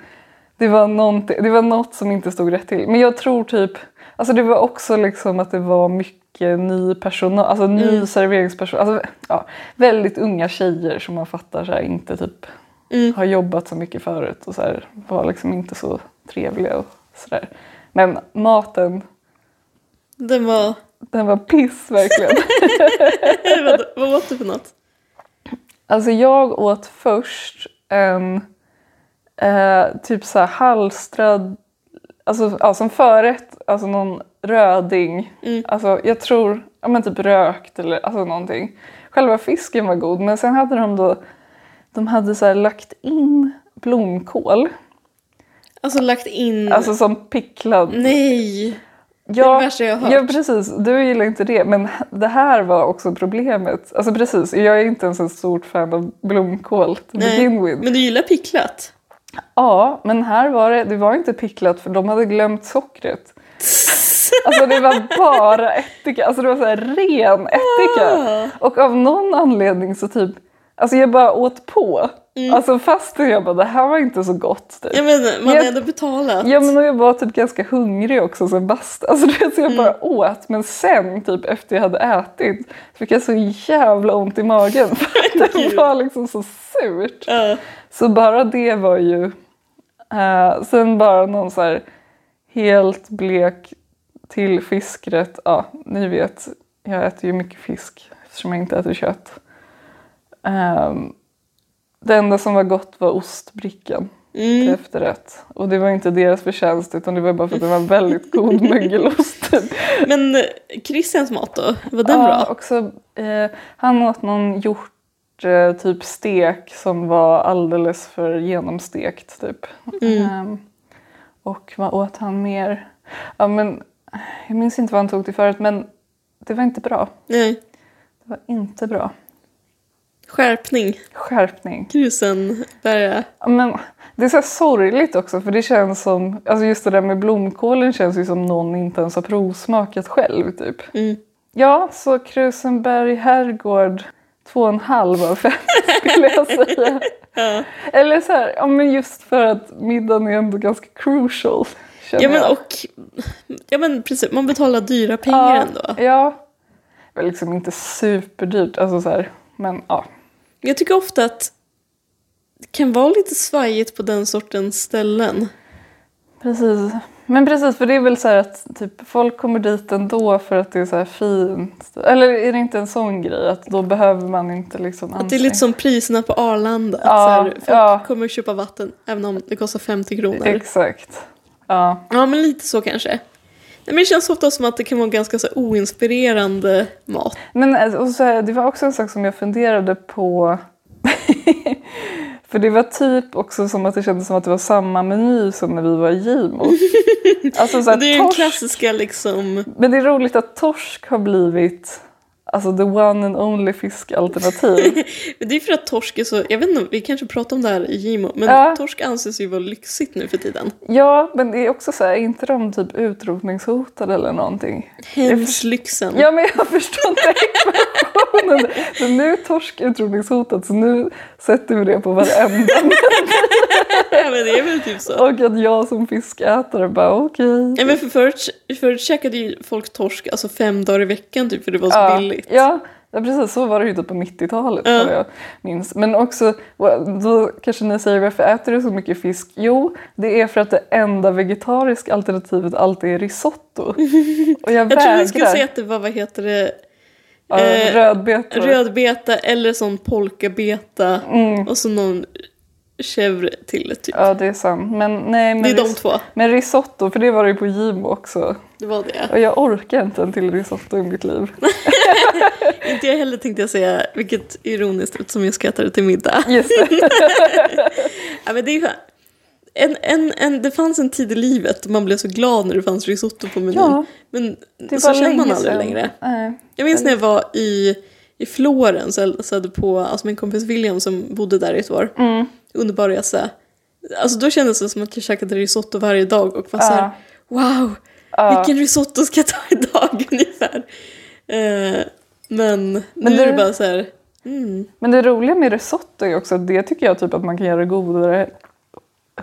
det var, någonting- det var något som inte stod rätt till. Men jag tror typ, alltså det var också liksom att det var mycket ny personal, alltså ny
Mm.
serveringspersonal. Alltså, ja, väldigt unga tjejer som man fattar så här, inte typ
Mm.
har jobbat så mycket förut och så här, var liksom inte så trevliga och sådär. Men maten,
Den var...
den var piss verkligen.
Vänta, Vad åt du för något?
Alltså jag åt först en eh, typ så här halstrad, alltså ja, som förrätt, alltså någon röding. Alltså jag tror, ja men typ rökt eller alltså någonting. Själva fisken var god men sen hade de då, de hade så här lagt in blomkål,
Alltså lagt in...
alltså som picklad.
Nej!
Ja,
det värsta jag har hört.
Ja precis, du gillar inte det men det här var också problemet. Alltså precis, jag är inte ens en stort fan av blomkål to
Nej.
begin with.
Men du gillar picklat?
Ja, men här var det, det var inte picklat för de hade glömt sockret. Alltså det var bara ättika, alltså det var så här ren
Ah.
ättika. Och av någon anledning så typ, alltså jag bara åt på.
Mm.
Alltså fastän jag bara det här var inte så gott. Typ.
Jag menar, man
Jag-
har ändå betalat.
Ja men och jag var typ ganska hungrig också sen bast. Alltså du vet, så jag
Mm.
bara åt men sen typ efter jag hade ätit fick jag så jävla ont i magen för att det
Gud.
var liksom så surt.
Ja.
Så bara det var ju... eh, sen bara någon så här helt blek till fiskrätt. Ja, ni vet, jag äter ju mycket fisk eftersom jag inte äter kött. Ehm, det enda som var gott var ostbrickan till efterrätt. Och det var inte deras förtjänst utan det var bara för att det var en väldigt god mögelost. Typ.
Men eh, Christians mat då? Var den
Ja,
bra?
Också, eh, han åt någon hjort, eh, typ stek som var alldeles för genomstekt. Typ. Ehm, och vad åt han mer? Ja, men, jag minns inte vad han tog till förut men det var inte bra.
Nej.
Det var inte bra.
Skärpning.
Skärpning.
Krusen, bärga.
Ja, Men det är så här sorgligt också för det känns som, alltså just det där med blomkålen känns ju som någon inte ens har provsmakat själv typ.
Mm.
Ja, så Krusenberg herrgård, två och en halv av fem skulle jag säga. Eller så här, ja men just för att middagen är ändå ganska crucial. känner
Ja men
jag.
och... Ja men precis, man betalar dyra pengar ändå.
Ja. Det var liksom inte superdyrt, alltså så här, men ja.
Jag tycker ofta att det kan vara lite svajigt på den sortens ställen.
Precis. Men precis, för det är väl så här att typ, folk kommer dit ändå för att det är så här fint. Eller är det inte en sån grej att då behöver man inte liksom
Att det är lite som priserna på Arlanda. Att
Ja,
så här, folk
ja.
kommer köpa vatten även om det kostar 50 kronor.
Exakt. Ja.
Ja, men lite så kanske. Nej, men det känns ofta som att det kan vara ganska så här oinspirerande mat.
Men alltså, och så här, det var också en sak som jag funderade på. För det var typ också som att det kändes som att det var samma meny som när vi var i Gimo. Alltså så här,
Men det är ju den
torsk-
klassiska liksom...
Men det är roligt att torsk har blivit alltså the one and only fiskalternativ.
Men det är för att torsk är så... Jag vet inte, vi kanske pratar om det här i Gimo, men
Ja.
torsk anses ju vara lyxigt nu för tiden.
Ja, men det är också så här, är inte de typ utrotningshotade eller någonting?
Hemslyxen.
Ja, men jag förstår inte ekvationen. Så nu är torsk utrotningshotat, så nu sätter vi det på varenda.
Ja, men det är väl typ så.
Och att jag som fiskätare bara okej.
Ja, men för förut, förut käkade ju folk torsk alltså fem dagar i veckan typ för det var så
Ja,
billigt.
Ja, ja, precis så var det ju typ på 90-talet
Ja.
vad jag minns. Men också, då kanske ni säger varför äter du så mycket fisk? Jo, det är för att det enda vegetariska alternativet alltid är risotto. Och jag,
Jag trodde
vägrar.
du skulle säga att det var, vad heter det,
Ja,
eh,
rödbetor.
rödbeta eller sån polkabeta och så någon chèvre till typ.
Mm. Ja, det är sant. Men, nej, men
det är de
ris-
två.
Men risotto, för det var det ju på Gimo också.
Det var det.
Och jag orkar inte en till risotto i mitt liv.
Inte jag heller tänkte jag säga, vilket är ironiskt eftersom jag ska äta det till middag.
Just det.
Ja, men det är ju skönt. en, en, en, det fanns en tid i livet då man blev så glad när det fanns risotto på menyn.
Ja,
men
Det
så
var
känner man
länge
aldrig
sedan.
längre.
Nej.
Jag minns när jag var i, i Florens och hälsade på alltså min kompis William som bodde där i ett år.
Mm.
Underbar resa. Alltså då kändes det som att jag käkade risotto varje dag och var så här,
Ja.
wow, vilken risotto ska jag ta idag ungefär? Eh, men, nu är det
du-
bara så här,
Men det roliga med risotto är också att det tycker jag typ att man kan göra godare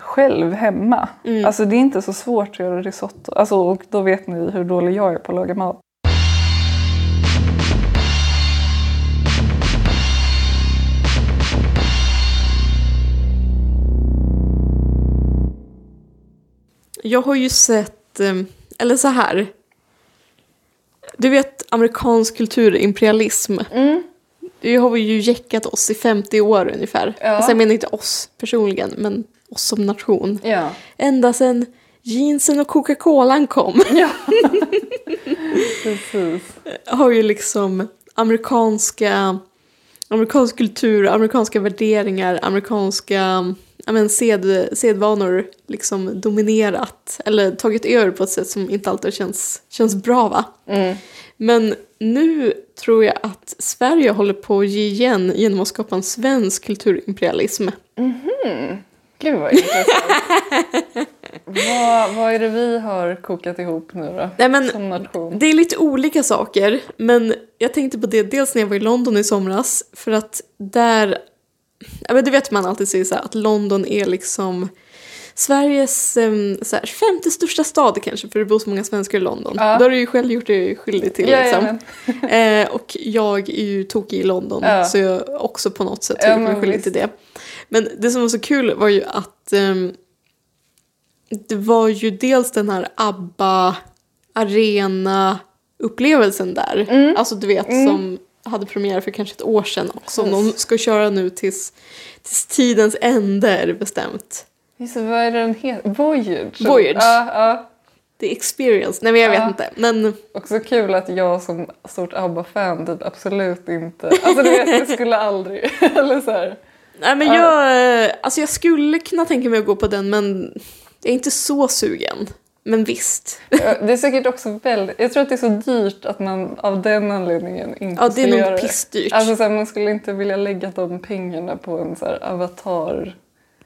själv hemma.
Mm.
Alltså det är inte så svårt att göra risotto. Alltså, och då vet ni hur dålig jag är på att laga mat.
jag har ju sett, eh, eller så här, du vet amerikansk kulturimperialism. Det har vi ju jäckat oss i 50 år ungefär. Alltså jag menar inte oss personligen, men oss som nation.
Ja.
Ända sedan jeansen och Coca-Colan kom
Precis.
har ju liksom amerikanska, amerikansk kultur, amerikanska värderingar, amerikanska ja, men, sed, sedvanor liksom dominerat eller tagit över på ett sätt som inte alltid känns, känns bra va? Men nu tror jag att Sverige håller på att ge igen genom att skapa en svensk kulturimperialism.
Gud vad intressant. vad, vad är det vi har kokat ihop nu då?
Nej, men-
Som nation.
Det är lite olika saker, men jag tänkte på det dels när jag var i London i somras, för att där, ja men det vet man alltid säger så här, att London är liksom Sveriges em, så här, femte största stad kanske, för det bor så många svenskar i London.
Ja.
Då har du ju själv gjort dig skyldig till liksom.
Jajamän.
Eh, och jag är ju tokig i London
Ja.
så jag har också på något sätt
Ja,
gjort mig
men
skyldig
visst.
till det. Men det som var så kul var ju att ehm, det var ju dels den här ABBA arena upplevelsen där.
Mm.
Alltså du vet som hade premiär för kanske ett år sedan och som de ska köra nu tills, tills tidens ände är det bestämt.
Just det, vad är den heter? Voyage?
Voyage.
Ja, ja.
Det är experience, nej men jag vet
Ja.
inte. Men
Också kul att jag som stort ABBA-fan typ absolut inte... Alltså du vet, jag skulle aldrig... Eller så här.
Nej men jag, eh, alltså jag skulle kunna tänka mig att gå på den men jag är inte så sugen. Men visst.
Ja, Det är säkert också väldigt... Jag tror att det är så dyrt att man av den anledningen inte
Ja det
skulle
är
göra
nog pissdyrt.
Alltså så här, man skulle inte vilja lägga de pengarna på en så här avatar.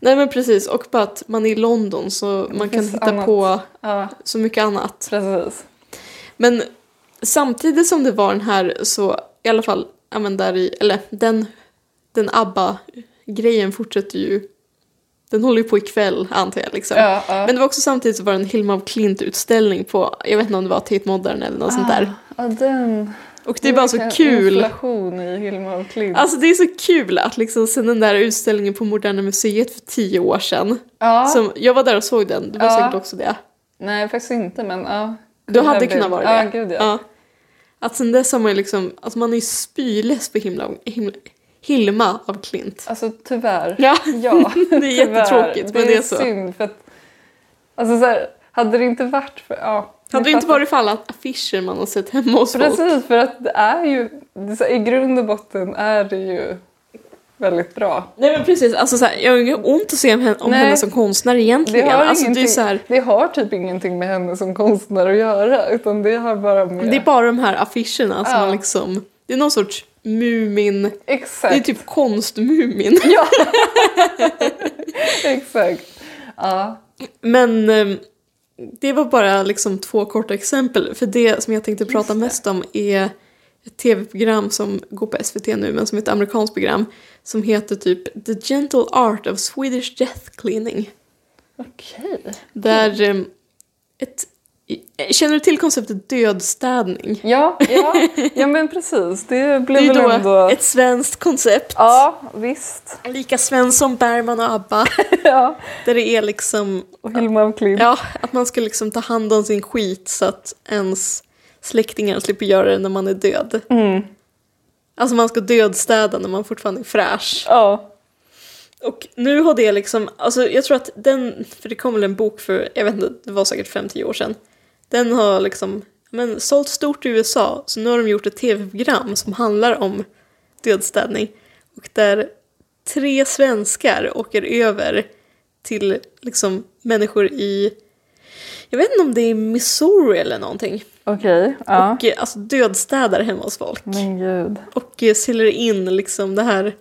Nej men precis och bara att man är i London så man kan
finns
hitta
annat.
på
Ja,
så mycket annat.
precis.
Men samtidigt som det var den här så i alla fall, ja, men där i, eller den, den ABBA-grejen fortsätter ju. Den håller ju på ikväll antar jag liksom.
Ja, ja.
Men det var också samtidigt så var det en Hilma af Klint-utställning på, jag vet inte om det var Tate Modern eller något sånt där.
Ja, den.
Och det är bara så
Vilken
kul.
Inflation i Hilma och Klint.
Alltså det är så kul att liksom sen den där utställningen på Moderna Museet för tio år sedan.
ja.
Som, jag var där och såg den, du var
Ja.
säkert också det.
Nej, faktiskt inte men ja.
Du
Could
hade
have
kunnat
been.
vara
ja,
det.
Gud, ja.
Ja. Att sen dess har man ju liksom, att man är ju spyless på himla, himla, Hilma av Klint.
Alltså tyvärr.
Ja.
Ja,
Det är jättetråkigt,
det
men
är,
det är så.
synd för att... Alltså så här, hade det inte varit för... Ja,
Hade det
ni
inte
fattar.
varit för alla affischer man har sett hemma hos folk.
Precis, för att det är ju... Det, är så här, I grund och botten är det ju väldigt bra.
Nej men precis, alltså så här, jag har inget ont att se om henne, om
Nej.
henne som konstnär
Det
egentligen.
har,
alltså, det, är
ingenting,
ju så här,
det har typ ingenting med henne som konstnär att göra utan det har bara med...
det är bara de här affischerna som
Ja.
man liksom, det är någon sorts Mumin,
Exakt.
det är typ konstmumin.
Exakt. Ja.
Men eh, det var bara liksom två korta exempel. För det som jag tänkte prata mest om är ett tv-program som går på SVT nu, men som är ett amerikanskt program som heter typ The Gentle Art of Swedish Death Cleaning.
Okej.
Där... eh, Ett, eh, känner du till konceptet dödstädning?
Ja, ja, ja, men precis. Det
Det
blev
är
väl
ju då
ändå...
ett svenskt koncept.
Ja, visst.
Lika svenskt som Bergman och ABBA.
Ja.
Där det är liksom
Och Hilma af Klint.
Ja, att man ska liksom ta hand om sin skit så att ens släktingar slipper göra det när man är död. Alltså man ska dödstäda när man fortfarande är fräsch.
Ja.
Och nu har det liksom, alltså jag tror att den, för det kom väl en bok för, jag vet inte, det var säkert 5-10 år sedan. Den har liksom, men sålt stort i USA, så nu har de gjort ett tv-program som handlar om dödstädning. Och där tre svenskar åker över till liksom människor i, jag vet inte om det är Missouri eller någonting.
Okej, ja.
Och eh, alltså dödstädar hemma hos folk.
Men gud.
Och eh, säljer in liksom det här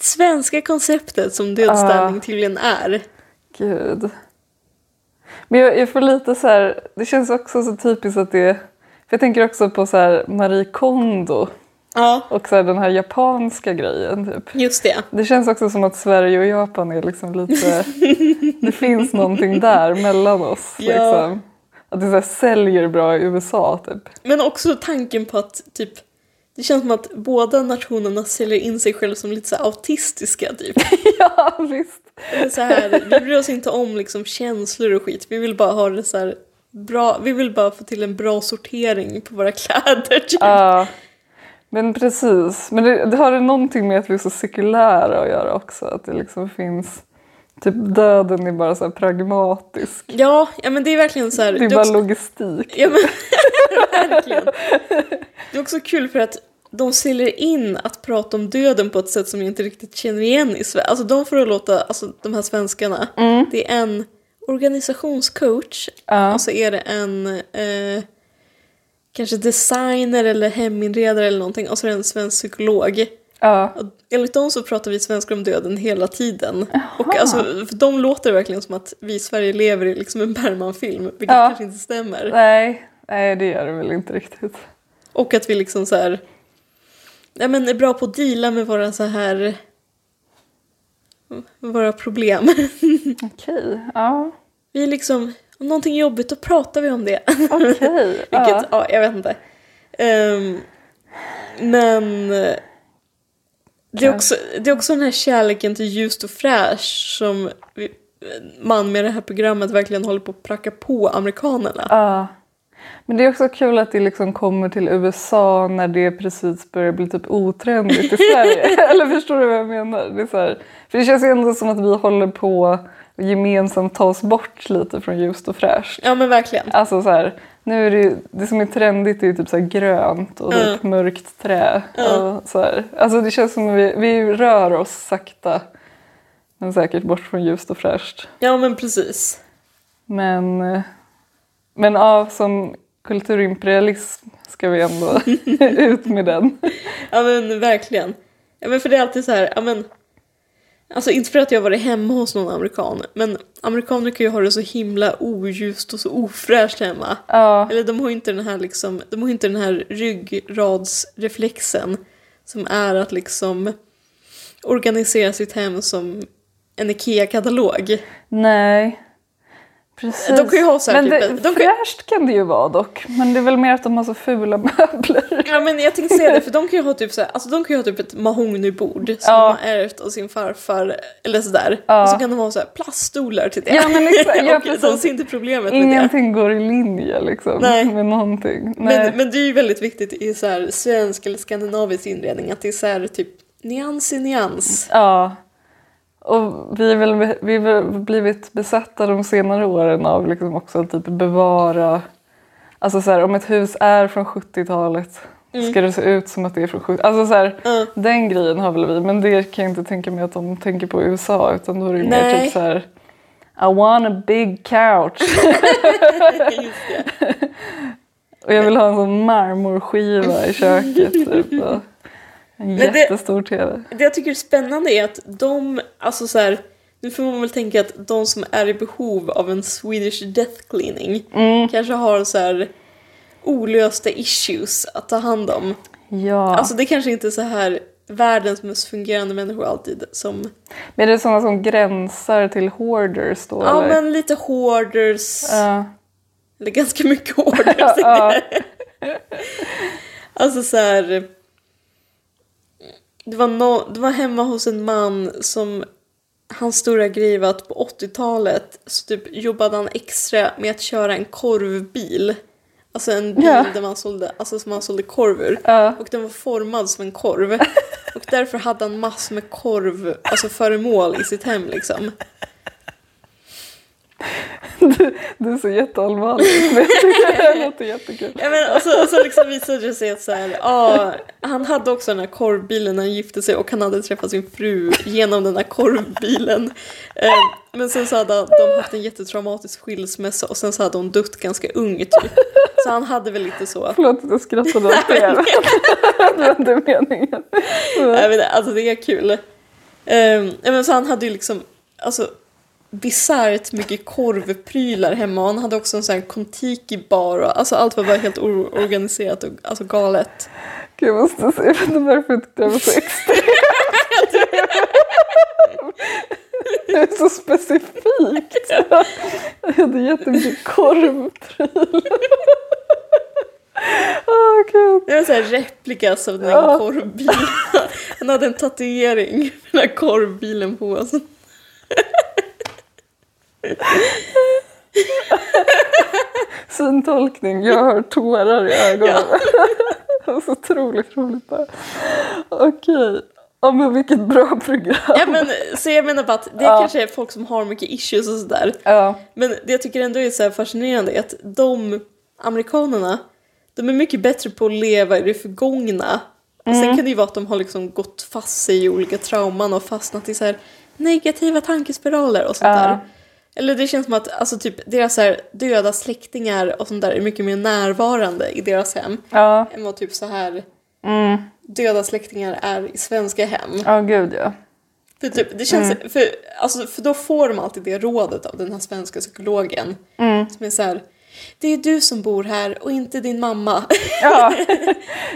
svenska konceptet som
Ah.
dödstädning tydligen är.
Gud. Men jag, jag får lite så här, det känns också så typiskt att det, för jag tänker också på så här Marie Kondo
Ja,
och så här den här japanska grejen typ.
just det.
Det känns också som att Sverige och Japan är liksom lite, det finns någonting där mellan oss.
Ja.
Liksom. Att det så här säljer bra i USA typ.
Men också tanken på att typ det känns som att båda nationerna säljer in sig själva som lite så här autistiska typ.
Ja visst.
Det är Så här, vi bryr oss inte om liksom känslor och skit. Vi vill bara ha det så här bra. Vi vill bara få till en bra sortering på våra kläder typ.
Ja. Men precis. Men det, det har det någonting med att vi är så sekulära att göra också? Att det liksom finns... Typ döden är bara så här pragmatisk.
Ja, ja men det är verkligen så här.
Det är bara logistik.
Ja men verkligen. Det är också kul för att de säljer in att prata om döden på ett sätt som jag inte riktigt känner igen i Sverige. Alltså de får det låta, alltså de här svenskarna, det är en organisationscoach
Mm. Ja.
och så är det en eh, kanske designer eller heminredare eller någonting och så är det en svensk psykolog.
Ja.
Och enligt dem så pratar vi svenskar om döden hela tiden. Och alltså, för de låter verkligen som att vi i Sverige lever i liksom en Bergman-film, vilket
Ja.
kanske inte stämmer.
Nej. Nej, det gör det väl inte riktigt.
Och att vi liksom så här, nej men är bra på att deala med våra så här våra problem.
Okej. Ja.
Vi är liksom, om någonting är jobbigt då pratar vi om det.
Okej.
Vilket,
ja.
ja. jag vet inte. Ehm, men eh, det är, också, det är också den här kärleken till ljust och fräsch som vi, man med det här programmet verkligen håller på att pracka på amerikanerna.
ja. Men det är också kul att det liksom kommer till USA när det precis börjar bli typ otrendigt i Sverige. Eller förstår du vad jag menar? Det är så här, för det känns ju ändå som att vi håller på att gemensamt ta oss bort lite från ljust och fräscht.
Ja men verkligen.
Alltså så här, nu är det ju, det som är trendigt är ju typ så här grönt och typ mörkt trä. Och så här. Alltså det känns som att vi, vi rör oss sakta men säkert bort från ljust och fräscht.
Ja men precis.
Men, eh, men ja, som kulturimperialism ska vi ändå ut med den.
Ja men verkligen. Ja men för det är alltid så här, ja men. Alltså inte för att jag har varit hemma hos någon amerikan, men amerikaner kan ju ha det så himla oljust och så ofräscht hemma.
Ja,
Eller de har ju inte den här liksom, de har ju inte den här ryggradsreflexen som är att liksom organisera sitt hem som en IKEA-katalog.
nej. Precis.
De kan ju ha så här
men
typ
det,
en- de kan ju-
fräscht kan det ju vara dock. Men det är väl mer att de har så fula möbler.
Ja men jag tänkte säga det för de kan ju ha typ så här, alltså de kan ju ha typ ett mahognybord som
Ja.
de har ärvt av sin farfar eller sådär.
Ja.
Och så kan de ha så här plaststolar till det.
Ja, men exakt. Ja,
och de
precis.
ser inte problemet med det.
Ingenting går i linje liksom,
Nej.
med någonting. Nej.
Men, men det är ju väldigt viktigt i så här svensk eller skandinavisk inredning att det är så här typ nyans i nyans.
Ja. Och vi har väl vi har väl blivit besatta de senare åren av liksom också att typ bevara... Alltså så här, om ett hus är från 70-talet ska det se ut som att det är från 70 Alltså så här,
Mm.
Den grejen har väl vi, men det kan jag inte tänka mig att de tänker på i USA utan då är det ju mer
Nej.
typ så här... I want a big couch.
Just det.
Och jag vill ha en sån marmorskiva i köket. Typ, och en
det-
jättestor tv.
Det jag tycker är spännande är att de, alltså så här, nu får man väl tänka att de som är i behov av en Swedish death cleaning
Mm.
kanske har så här olösta issues att ta hand om.
Ja.
Alltså det kanske inte är så här världens mest fungerande människor alltid som,
Men är det sådana som gränsar till hoarders då?
ja
eller?
men lite hoarders,
Ja.
eller ganska mycket hoarders.
Ja.
Alltså så här. Det var, nå det var hemma hos en man som hans stora grej var att på 80-talet så typ jobbade han extra med att köra en korvbil. Alltså en bil
Ja.
där man sålde, alltså som man sålde korv ur.
Ja.
Och den var formad som en korv. Och därför hade han massor med korv, alltså föremål i sitt hem liksom.
Du, du är så jätteallvarlig. Men jag tycker det här låter jättekul.
Ja, men, och så, och så liksom visade det sig att så här, ja, han hade också den här korvbilen när han gifte sig och han hade träffat sin fru genom den här korvbilen. Eh, men sen så hade han- de haft en jättetraumatisk skilsmässa och sen så hade hon dött ganska ung typ. Så han hade väl lite så.
Förlåt att jag skrattade åt det. Det var inte meningen.
Jag vet, inte, alltså det är kul. Ehm, ja, men så han hade ju liksom alltså, bisarrt mycket korvprylar hemma och han hade också en sån här kontiki-bar och alltså allt var bara helt oorganiserat och alltså galet.
Gud, jag måste se. Jag vet inte varför jag tyckte det var så extremt. Det är så specifikt. Jag hade jättemycket korvprylar. Åh, gud.
Det var en sån här replikas av den här
Ja.
korvbilen. Han hade en tatuering med den här korvbilen på sig.
Syntolkning. Jag har tårar i ögonen. Det var så otroligt roligt bara. Okej. Ja, men vilket bra program.
Ja, men, så jag menar bara att det
Ja.
kanske är folk som har mycket issues och sådär.
Ja.
Men det jag tycker ändå är så här fascinerande är att de amerikanerna, de är mycket bättre på att leva i det förgångna. Sen kan det ju vara att de har liksom gått fast sig i olika trauman och fastnat i så här negativa tankespiraler och sånt
Ja.
där. Eller det känns som att alltså typ, deras så här döda släktingar och sånt där är mycket mer närvarande i deras hem
Ja.
än vad typ så här döda släktingar är i svenska hem.
Ja, gud ja.
För, typ, det känns,
Mm.
för, alltså, för då får de alltid det rådet av den här svenska psykologen.
Mm.
Som är så här, det är du som bor här och inte din mamma.
Ja,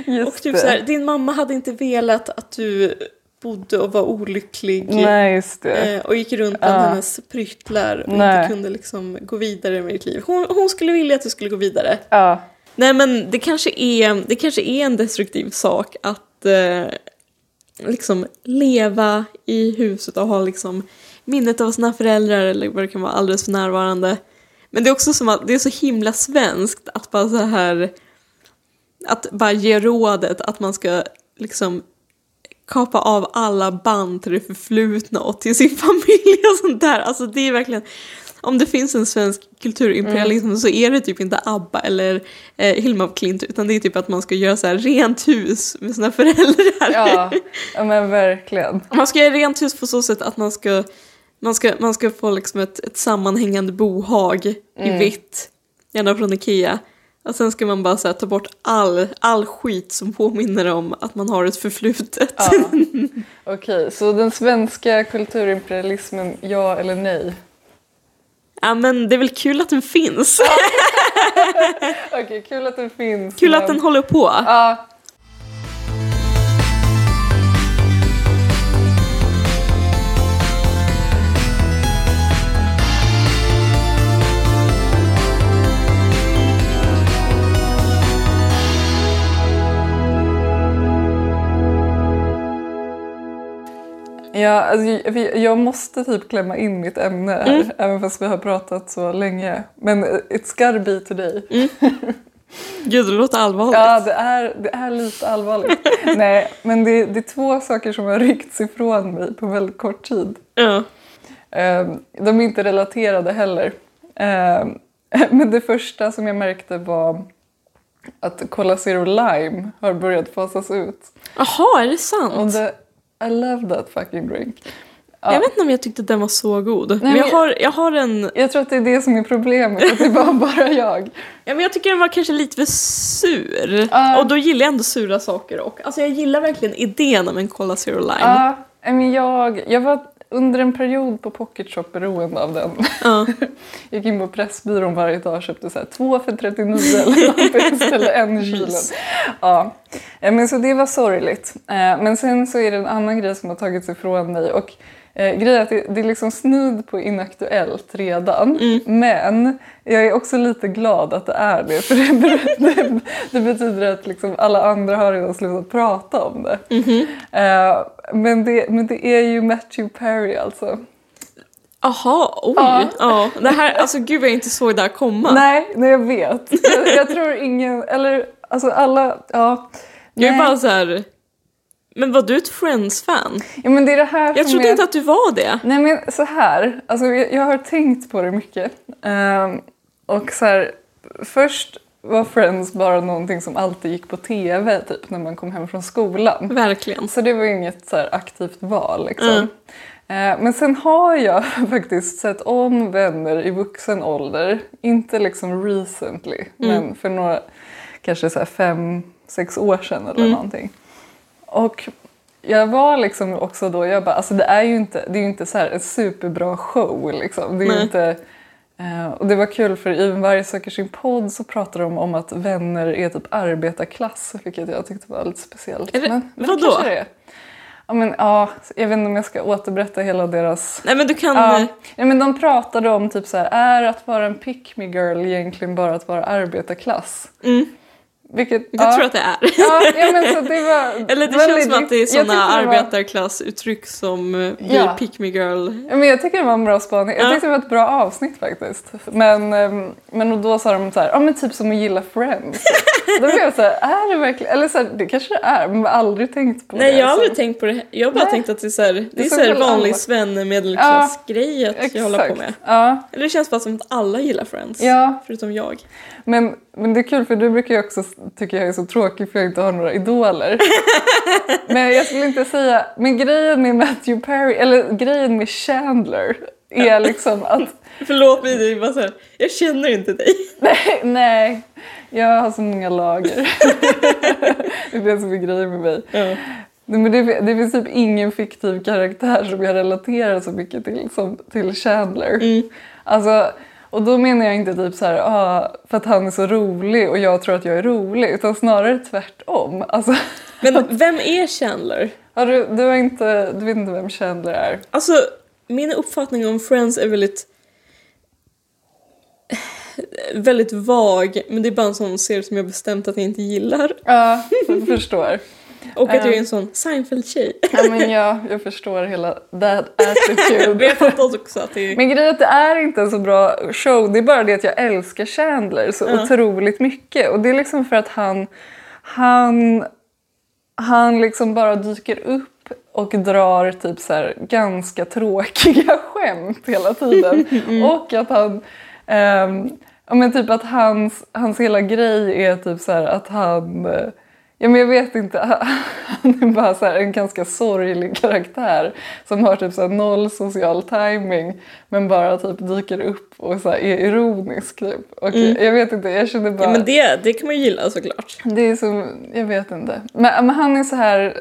just
och typ
det.
så här, din mamma hade inte velat att du bodde och var olycklig.
Nej, just det.
typ- eh, Och gick runt bland hennes pryttlar och
Nej.
inte kunde liksom gå vidare med ditt liv. Hon, hon skulle vilja att du skulle gå vidare.
Ja.
Nej men det kanske är, det kanske är en destruktiv sak att eh, liksom leva i huset och ha liksom minnet av sina föräldrar eller vad det kan vara alldeles för närvarande. Men det är också som att det är så himla svenskt att bara så här att bara ge rådet att man ska liksom kapa av alla band till det förflutna och till sin familj och sånt där. Alltså det är verkligen, om det finns en svensk kulturimperialism så är det typ inte ABBA eller eh, Hilma af Klint utan det är typ att man ska göra så här rent hus med sina föräldrar.
Ja. ja, men verkligen.
Man ska göra rent hus på så sätt att man ska, man ska, man ska få liksom ett, ett sammanhängande bohag i
Mm.
vitt, gärna från Ikea. Och sen ska man bara så här, ta bort all, all skit som påminner om att man har ett förflutet.
Okej, så den svenska kulturimperialismen, ja eller nej?
ja men det är väl kul att den finns.
Okej, kul att den finns.
Kul att
men-
den håller på.
Ja. Ja, alltså, jag- jag måste typ klämma in mitt ämne här, även fast vi har pratat så länge. Men eh, it's gotta be today.
Gud det låter allvarligt.
Ja, det är, det är lite allvarligt. Nej, men det, det är två saker som har ryckts ifrån mig på väldigt kort tid.
Ja.
Eh, De är inte relaterade heller. Eh, Men det första som jag märkte var att Cola Zero Lime har börjat fasas ut.
Jaha, är det sant?
Och det, I love that fucking drink.
Jag vet inte om jag tyckte den var så god. men
men
jag
jag-
har, jag har en...
Jag tror att det är det som är problemet, att det var bara jag.
Ja, men jag tycker den var kanske lite för sur.
Ja.
Och då gillar jag ändå sura saker. Och, alltså jag gillar verkligen idén om en Cola Zero Lime.
Ja, nej, men jag, jag var under en period på Pocket Shop beroende av den.
Ja.
gick in på Pressbyrån varje dag och köpte så här, två för 39 eller någonting istället en kilo. Ja. Eh, Men så det var sorgligt. Eh, Men sen så är det en annan grej som har tagits ifrån mig. Och eh, grejen är att det, det är liksom snudd på inaktuellt redan. Men jag är också lite glad att det är det. För det, ber- det, det betyder att liksom alla andra har redan slutat prata om det. Eh, men, det men det är ju Matthew Perry alltså.
Aha, oj. Ja.
Ja.
Det här, alltså gud vad jag inte såg det här komma.
Nej, nej jag vet. Jag, jag tror ingen, eller alltså alla, ja.
jag är
Nej.
bara så här. Men var du ett Friends-fan?
Ja, men det är det här
Jag
som
trodde
är...
inte att du var det.
Nej men så här, alltså, jag, jag har tänkt på det mycket. Ehm, och så här, först var Friends bara någonting som alltid gick på tv typ när man kom hem från skolan.
Verkligen.
Så det var ju inget så här, aktivt val liksom.
Mm.
Eh, Men sen har jag faktiskt sett om vänner i vuxen ålder. Inte liksom recently, men för några, kanske så här fem, sex år sedan eller någonting. Och jag var liksom också då, jag bara, alltså det är ju inte, det är ju inte så här en superbra show liksom. Det är ju
Nej.
inte, eh, och det var kul för i Varje söker sin podd så pratar de om att vänner är typ arbetarklass, vilket jag tyckte var lite speciellt.
Är det-
men
vadå?
kanske det är. Ja, men, ja, jag vet inte om jag ska återberätta hela deras...
Nej men du kan...
Ja,
eh,
ja, men de pratade om typ så här, är att vara en pick me girl egentligen bara att vara arbetarklass? Vilket,
Mm. Jag
ja.
tror att det är.
Ja, ja, men så det var...
Eller det
var
känns
lite-
som att det är
jag
sådana
tyckte det var-
arbetarklassuttryck som eh, blir
Ja.
pick me girl.
Ja, men jag tycker det var en bra spaning. Jag
Ja.
tyckte det var ett bra avsnitt faktiskt. Men, ehm, men och då sa de så här, ja men typ som att gilla Friends. då blev jag så här, är det verkligen... Eller så här, det kanske det är, men jag har aldrig tänkt på det.
Nej jag har
Så-
aldrig tänkt på det. Jag har bara
Nej.
tänkt att det är såhär, det
är
är
så
så här
väl
vanlig
alla-
svenne-medelklassgrej att jag håller på med.
Ja,
Eller det känns bara som att alla gillar Friends.
Ja.
Förutom jag.
Men, men det är kul för du brukar ju också tycka jag är så tråkig för jag inte har några idoler. men jag skulle inte säga, men grejen med Matthew Perry, eller grejen med Chandler är liksom att
Förlåt mig, det är bara såhär, jag känner inte dig.
nej, nej, jag har så många lager. det är det som är grejen med mig.
Ja.
Nej, men det, det finns typ ingen fiktiv karaktär som jag relaterar så mycket till som till Chandler. Alltså, och då menar jag inte typ så här, ah, för att han är så rolig och jag tror att jag är rolig, utan snarare tvärtom. Alltså,
Men vem är Chandler?
har du, du, har inte, du vet inte vem Chandler är?
Alltså, min uppfattning om Friends är väldigt... Väldigt vag, men det är bara en sån serie som jag bestämt att jag inte gillar.
Ja, jag förstår.
Och att jag är en sån Seinfeld-tjej.
Ja, men ja, jag förstår hela that
Men
attitude.
jag fattar också att det är...
Men grejen är att det är inte en så bra show. Det är bara det att jag älskar Chandler så otroligt mycket. Och det är liksom för att han... Han, han liksom bara dyker upp och drar typ så här ganska tråkiga skämt hela tiden.
Mm.
Och att han... ehm, ja, men typ att hans, hans hela grej är typ så här att han... eh, Ja, men jag vet inte. Han är bara så här en ganska sorglig karaktär som har typ så här noll social timing men bara typ dyker upp och så här är ironisk. Typ. Och Jag vet inte, jag känner bara...
Mm. Ja, men det, det kan man ju gilla såklart.
Det är som, jag vet inte. Men, men han är så här,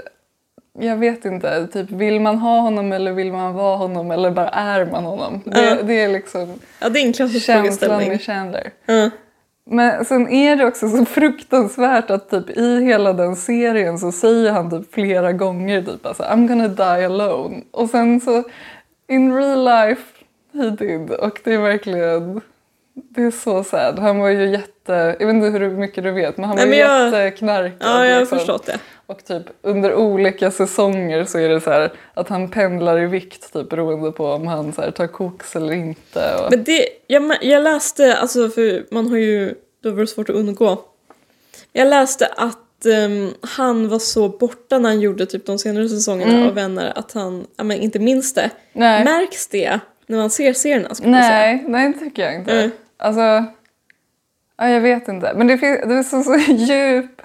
jag vet inte, typ vill man ha honom eller vill man vara honom eller bara är man honom? Det,
Ja.
det är liksom
Ja, det är en klassisk
känslan med
frågeställning.
Chandler.
Ja.
Men sen är det också så fruktansvärt att typ i hela den serien så säger han typ flera gånger typ alltså, I'm gonna die alone. Och sen så in real life he did och det är verkligen det är så sad. Han var ju jätte, jag vet inte hur mycket du vet men han
Nej,
var
men jag-
jätteknarkad.
Ja, jag har
liksom.
förstått det.
Och typ under olika säsonger så är det så här att han pendlar i vikt typ beroende på om han så här, tar koks eller inte. Och...
Men det, jag, jag läste, alltså för man har ju, då var det svårt att undgå. Jag läste att ehm, han var så borta när han gjorde typ de senare säsongerna av Vänner att han ja, men inte minns det.
Mm. Nej.
Märks det när man ser serierna skulle jag säga?
Nej, nej det tycker jag inte.
Mm.
Alltså, ja, jag vet inte. Men det, finns, det är så, så djup...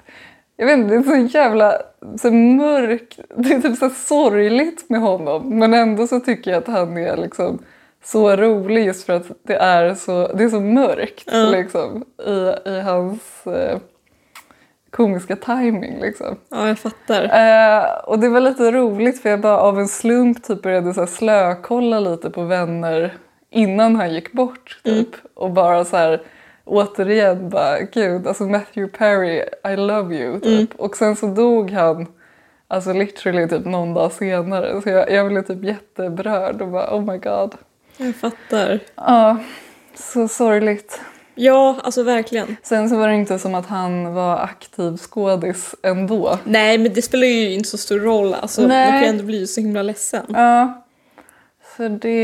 Jag vet inte, det är så jävla så mörk... Det är typ så sorgligt med honom. Men ändå så tycker jag att han är liksom så rolig just för att det är så, det är så mörkt liksom, i, i hans eh, komiska timing. Liksom.
Ja, jag fattar.
Eh, och det var lite roligt för jag bara av en slump typ började så här slökolla lite på vänner innan han gick bort typ. Och bara så här återigen bara gud alltså Matthew Perry I love you typ. Och sen så dog han alltså literally typ någon dag senare så jag, jag blev typ jätteberörd och bara oh my god.
Jag fattar.
Ja, så sorgligt.
Ja, alltså verkligen.
Sen så var det inte som att han var aktiv skådis ändå.
Nej, men det spelar ju inte så stor roll. Alltså,
Nej.
man kan ju ändå bli så himla ledsen.
Ja, så det...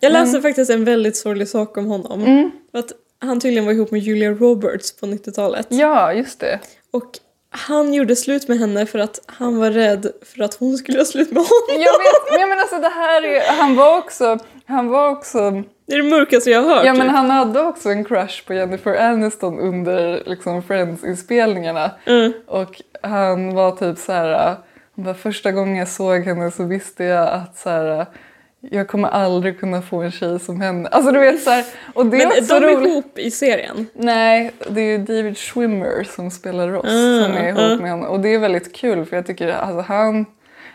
Jag läste faktiskt en väldigt sorglig sak om honom. Mm. Att han tydligen var ihop med Julia Roberts på 90-talet.
Ja, just det.
Och han gjorde slut med henne för att han var rädd för att hon skulle göra slut med honom.
Jag vet, men jag menar alltså det här är, han var också, han var också,
Det är det mörkaste jag har hört.
ja men
typ.
han hade också en crush på Jennifer Aniston under liksom Friends-inspelningarna.
Mm.
Och han var typ så här, äh, han bara, första gången jag såg henne så visste jag att så här, äh, jag kommer aldrig kunna få en tjej som henne. Alltså du vet så här, och det är
Men
också
de är
roligt.
ihop i serien.
Nej, det är ju David Schwimmer som spelar Ross som är ihop med honom. Och det är väldigt kul för jag tycker att alltså, han...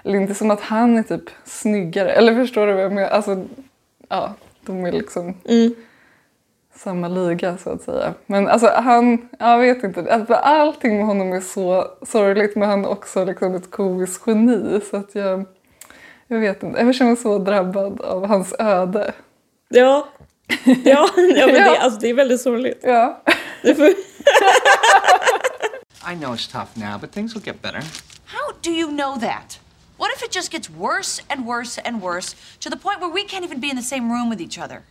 Eller inte som att han är typ snyggare. Eller förstår du vad jag menar? Alltså, ja, de är liksom samma liga så att säga. Men alltså han, jag vet inte. Alltså, allting med honom är så sorgligt men han är också liksom ett komiskt geni. Så att jag, jag vet inte. Jag känner mig så drabbad av hans öde.
Ja. Ja, ja men
Ja.
Det, alltså, det är väldigt sorgligt.
Ja.
Det får-
I know it's tough now, but things will get better.
How do you know that? What if it just gets worse and worse and worse to the point where we can't even be in the same room with each other?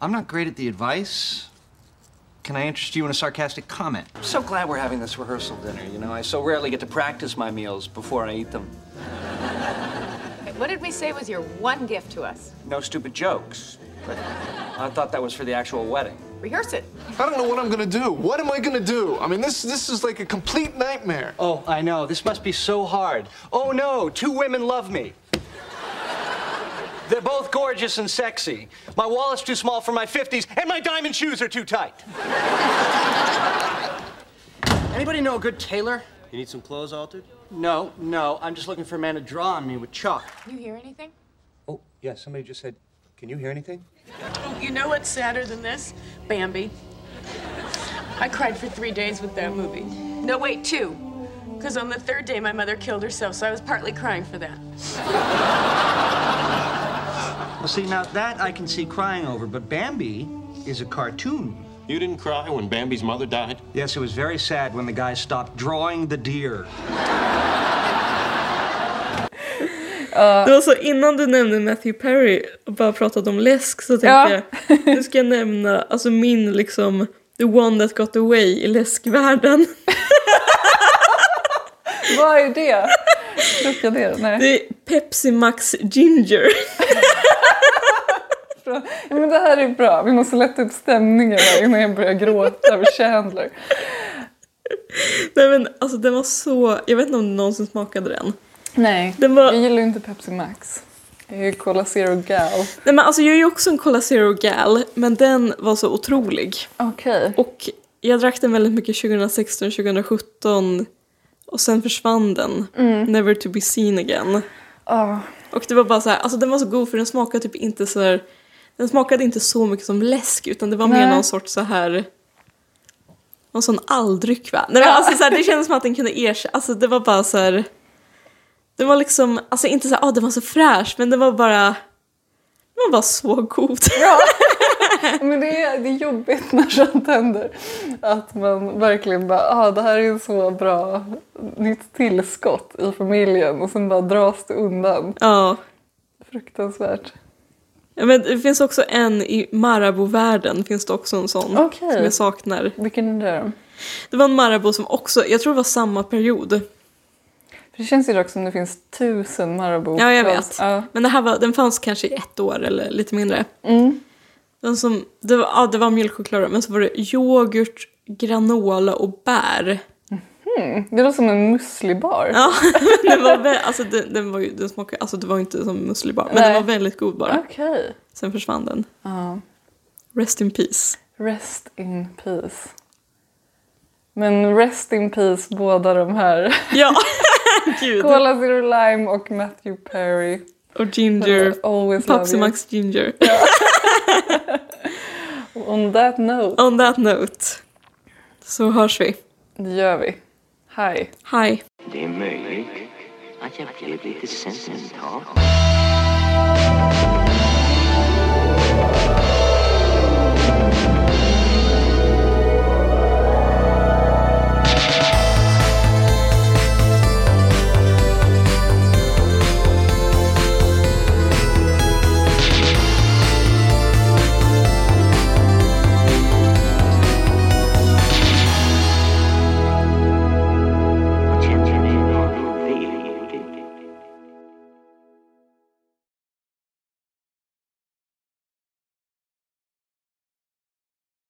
I'm not great at the advice. Can I interest you in a sarcastic comment? I'm so glad we're having this rehearsal dinner, you know. I so rarely get to practice my meals before I eat them.
What did we say was your one gift to us?
No stupid jokes. But I thought that was for the actual wedding.
Rehearse it.
I don't know what I'm gonna do. What am I gonna do? I mean, this this is like a complete nightmare.
Oh, I know. This must be so hard. Oh no, two women love me. They're both gorgeous and sexy. My wallet's too small for my 50s, and my diamond shoes are too tight. Anybody know a good tailor? You need some clothes altered? No, no. I'm just looking for a man to draw on me with chalk.
You hear anything?
Oh, yeah, somebody just said, Can you hear anything?
Oh, You know what's sadder than this? Bambi. I cried for three days with that movie. No, wait, two. Because on the third day, my mother killed herself, so I was partly crying for that.
Well, see, now that I can see crying over, but Bambi is a cartoon.
You didn't cry when Bambi's mother died.
Yes, it was very sad when the guy stopped drawing the deer.
Det var så innan du nämnde Matthew Perry och bara pratade om läsk så tänkte
Ja.
jag nu ska jag nämna alltså min liksom the one that got away i läskvärlden.
Vad är det? Dricka det? Nej.
Det är Pepsi Max Ginger.
bra. Ja, men det här är bra. Vi måste lätta upp stämningen här innan jag börjar gråta över Chandler.
Nej men alltså den var så, jag vet inte om du någonsin smakade den.
Nej,
Den var-
jag gillar ju inte Pepsi Max. Jag är ju Cola Zero Gal.
Nej men alltså jag är ju också en Cola Zero gal men den var så otrolig.
Okej.
Och jag drack den väldigt mycket 2016, 2017 och sen försvann den. Never to be seen again.
Ja.
Och det var bara så här, alltså den var så god för den smakade typ inte så här, den smakade inte så mycket som läsk utan det var mer
Nej.
någon sorts så här någon sån alldryck va? Nej, men alltså, så här, det kändes som att den kunde ersätta, alltså det var bara så här den var liksom, alltså inte så här, ah, den var så fräsch men den var bara den var bara så god.
Men det är, det är jobbigt när sånt händer. Att man verkligen bara, ah, det här är en så bra nytt tillskott i familjen och sen bara dras det undan.
ja.
Fruktansvärt.
Ja, Men det finns också en i Marabou-världen finns det också en sån
Okej.
som jag saknar.
Vilken är det då?
Det var en Marabou som också, jag tror det var samma period.
För det känns ju dock som det finns tusen Marabou.
Ja, jag vet.
Ja.
Men det här var, den fanns kanske i ett år eller lite mindre.
Mm.
Den som, det, var, ja, det var mjölkchoklad men så var det yoghurt, granola och bär.
Det låter som en müslibar.
Ja, men den var, vä- alltså, den, den var ju, den smakade, alltså det var ju inte som muslibar men
Nej.
den var väldigt god bara.
Okej.
Sen försvann den.
Ja.
Rest in peace.
Rest in peace. Men rest in peace båda de här.
Ja, gud.
Cola Zero Lime och Matthew Perry.
Och ginger.
Always love
Pepsi
you.
Max ginger.
On that note,
On that note så hörs vi.
det gör vi. Hej.
Hej.
Det är möjligt att jag blev lite sentimental.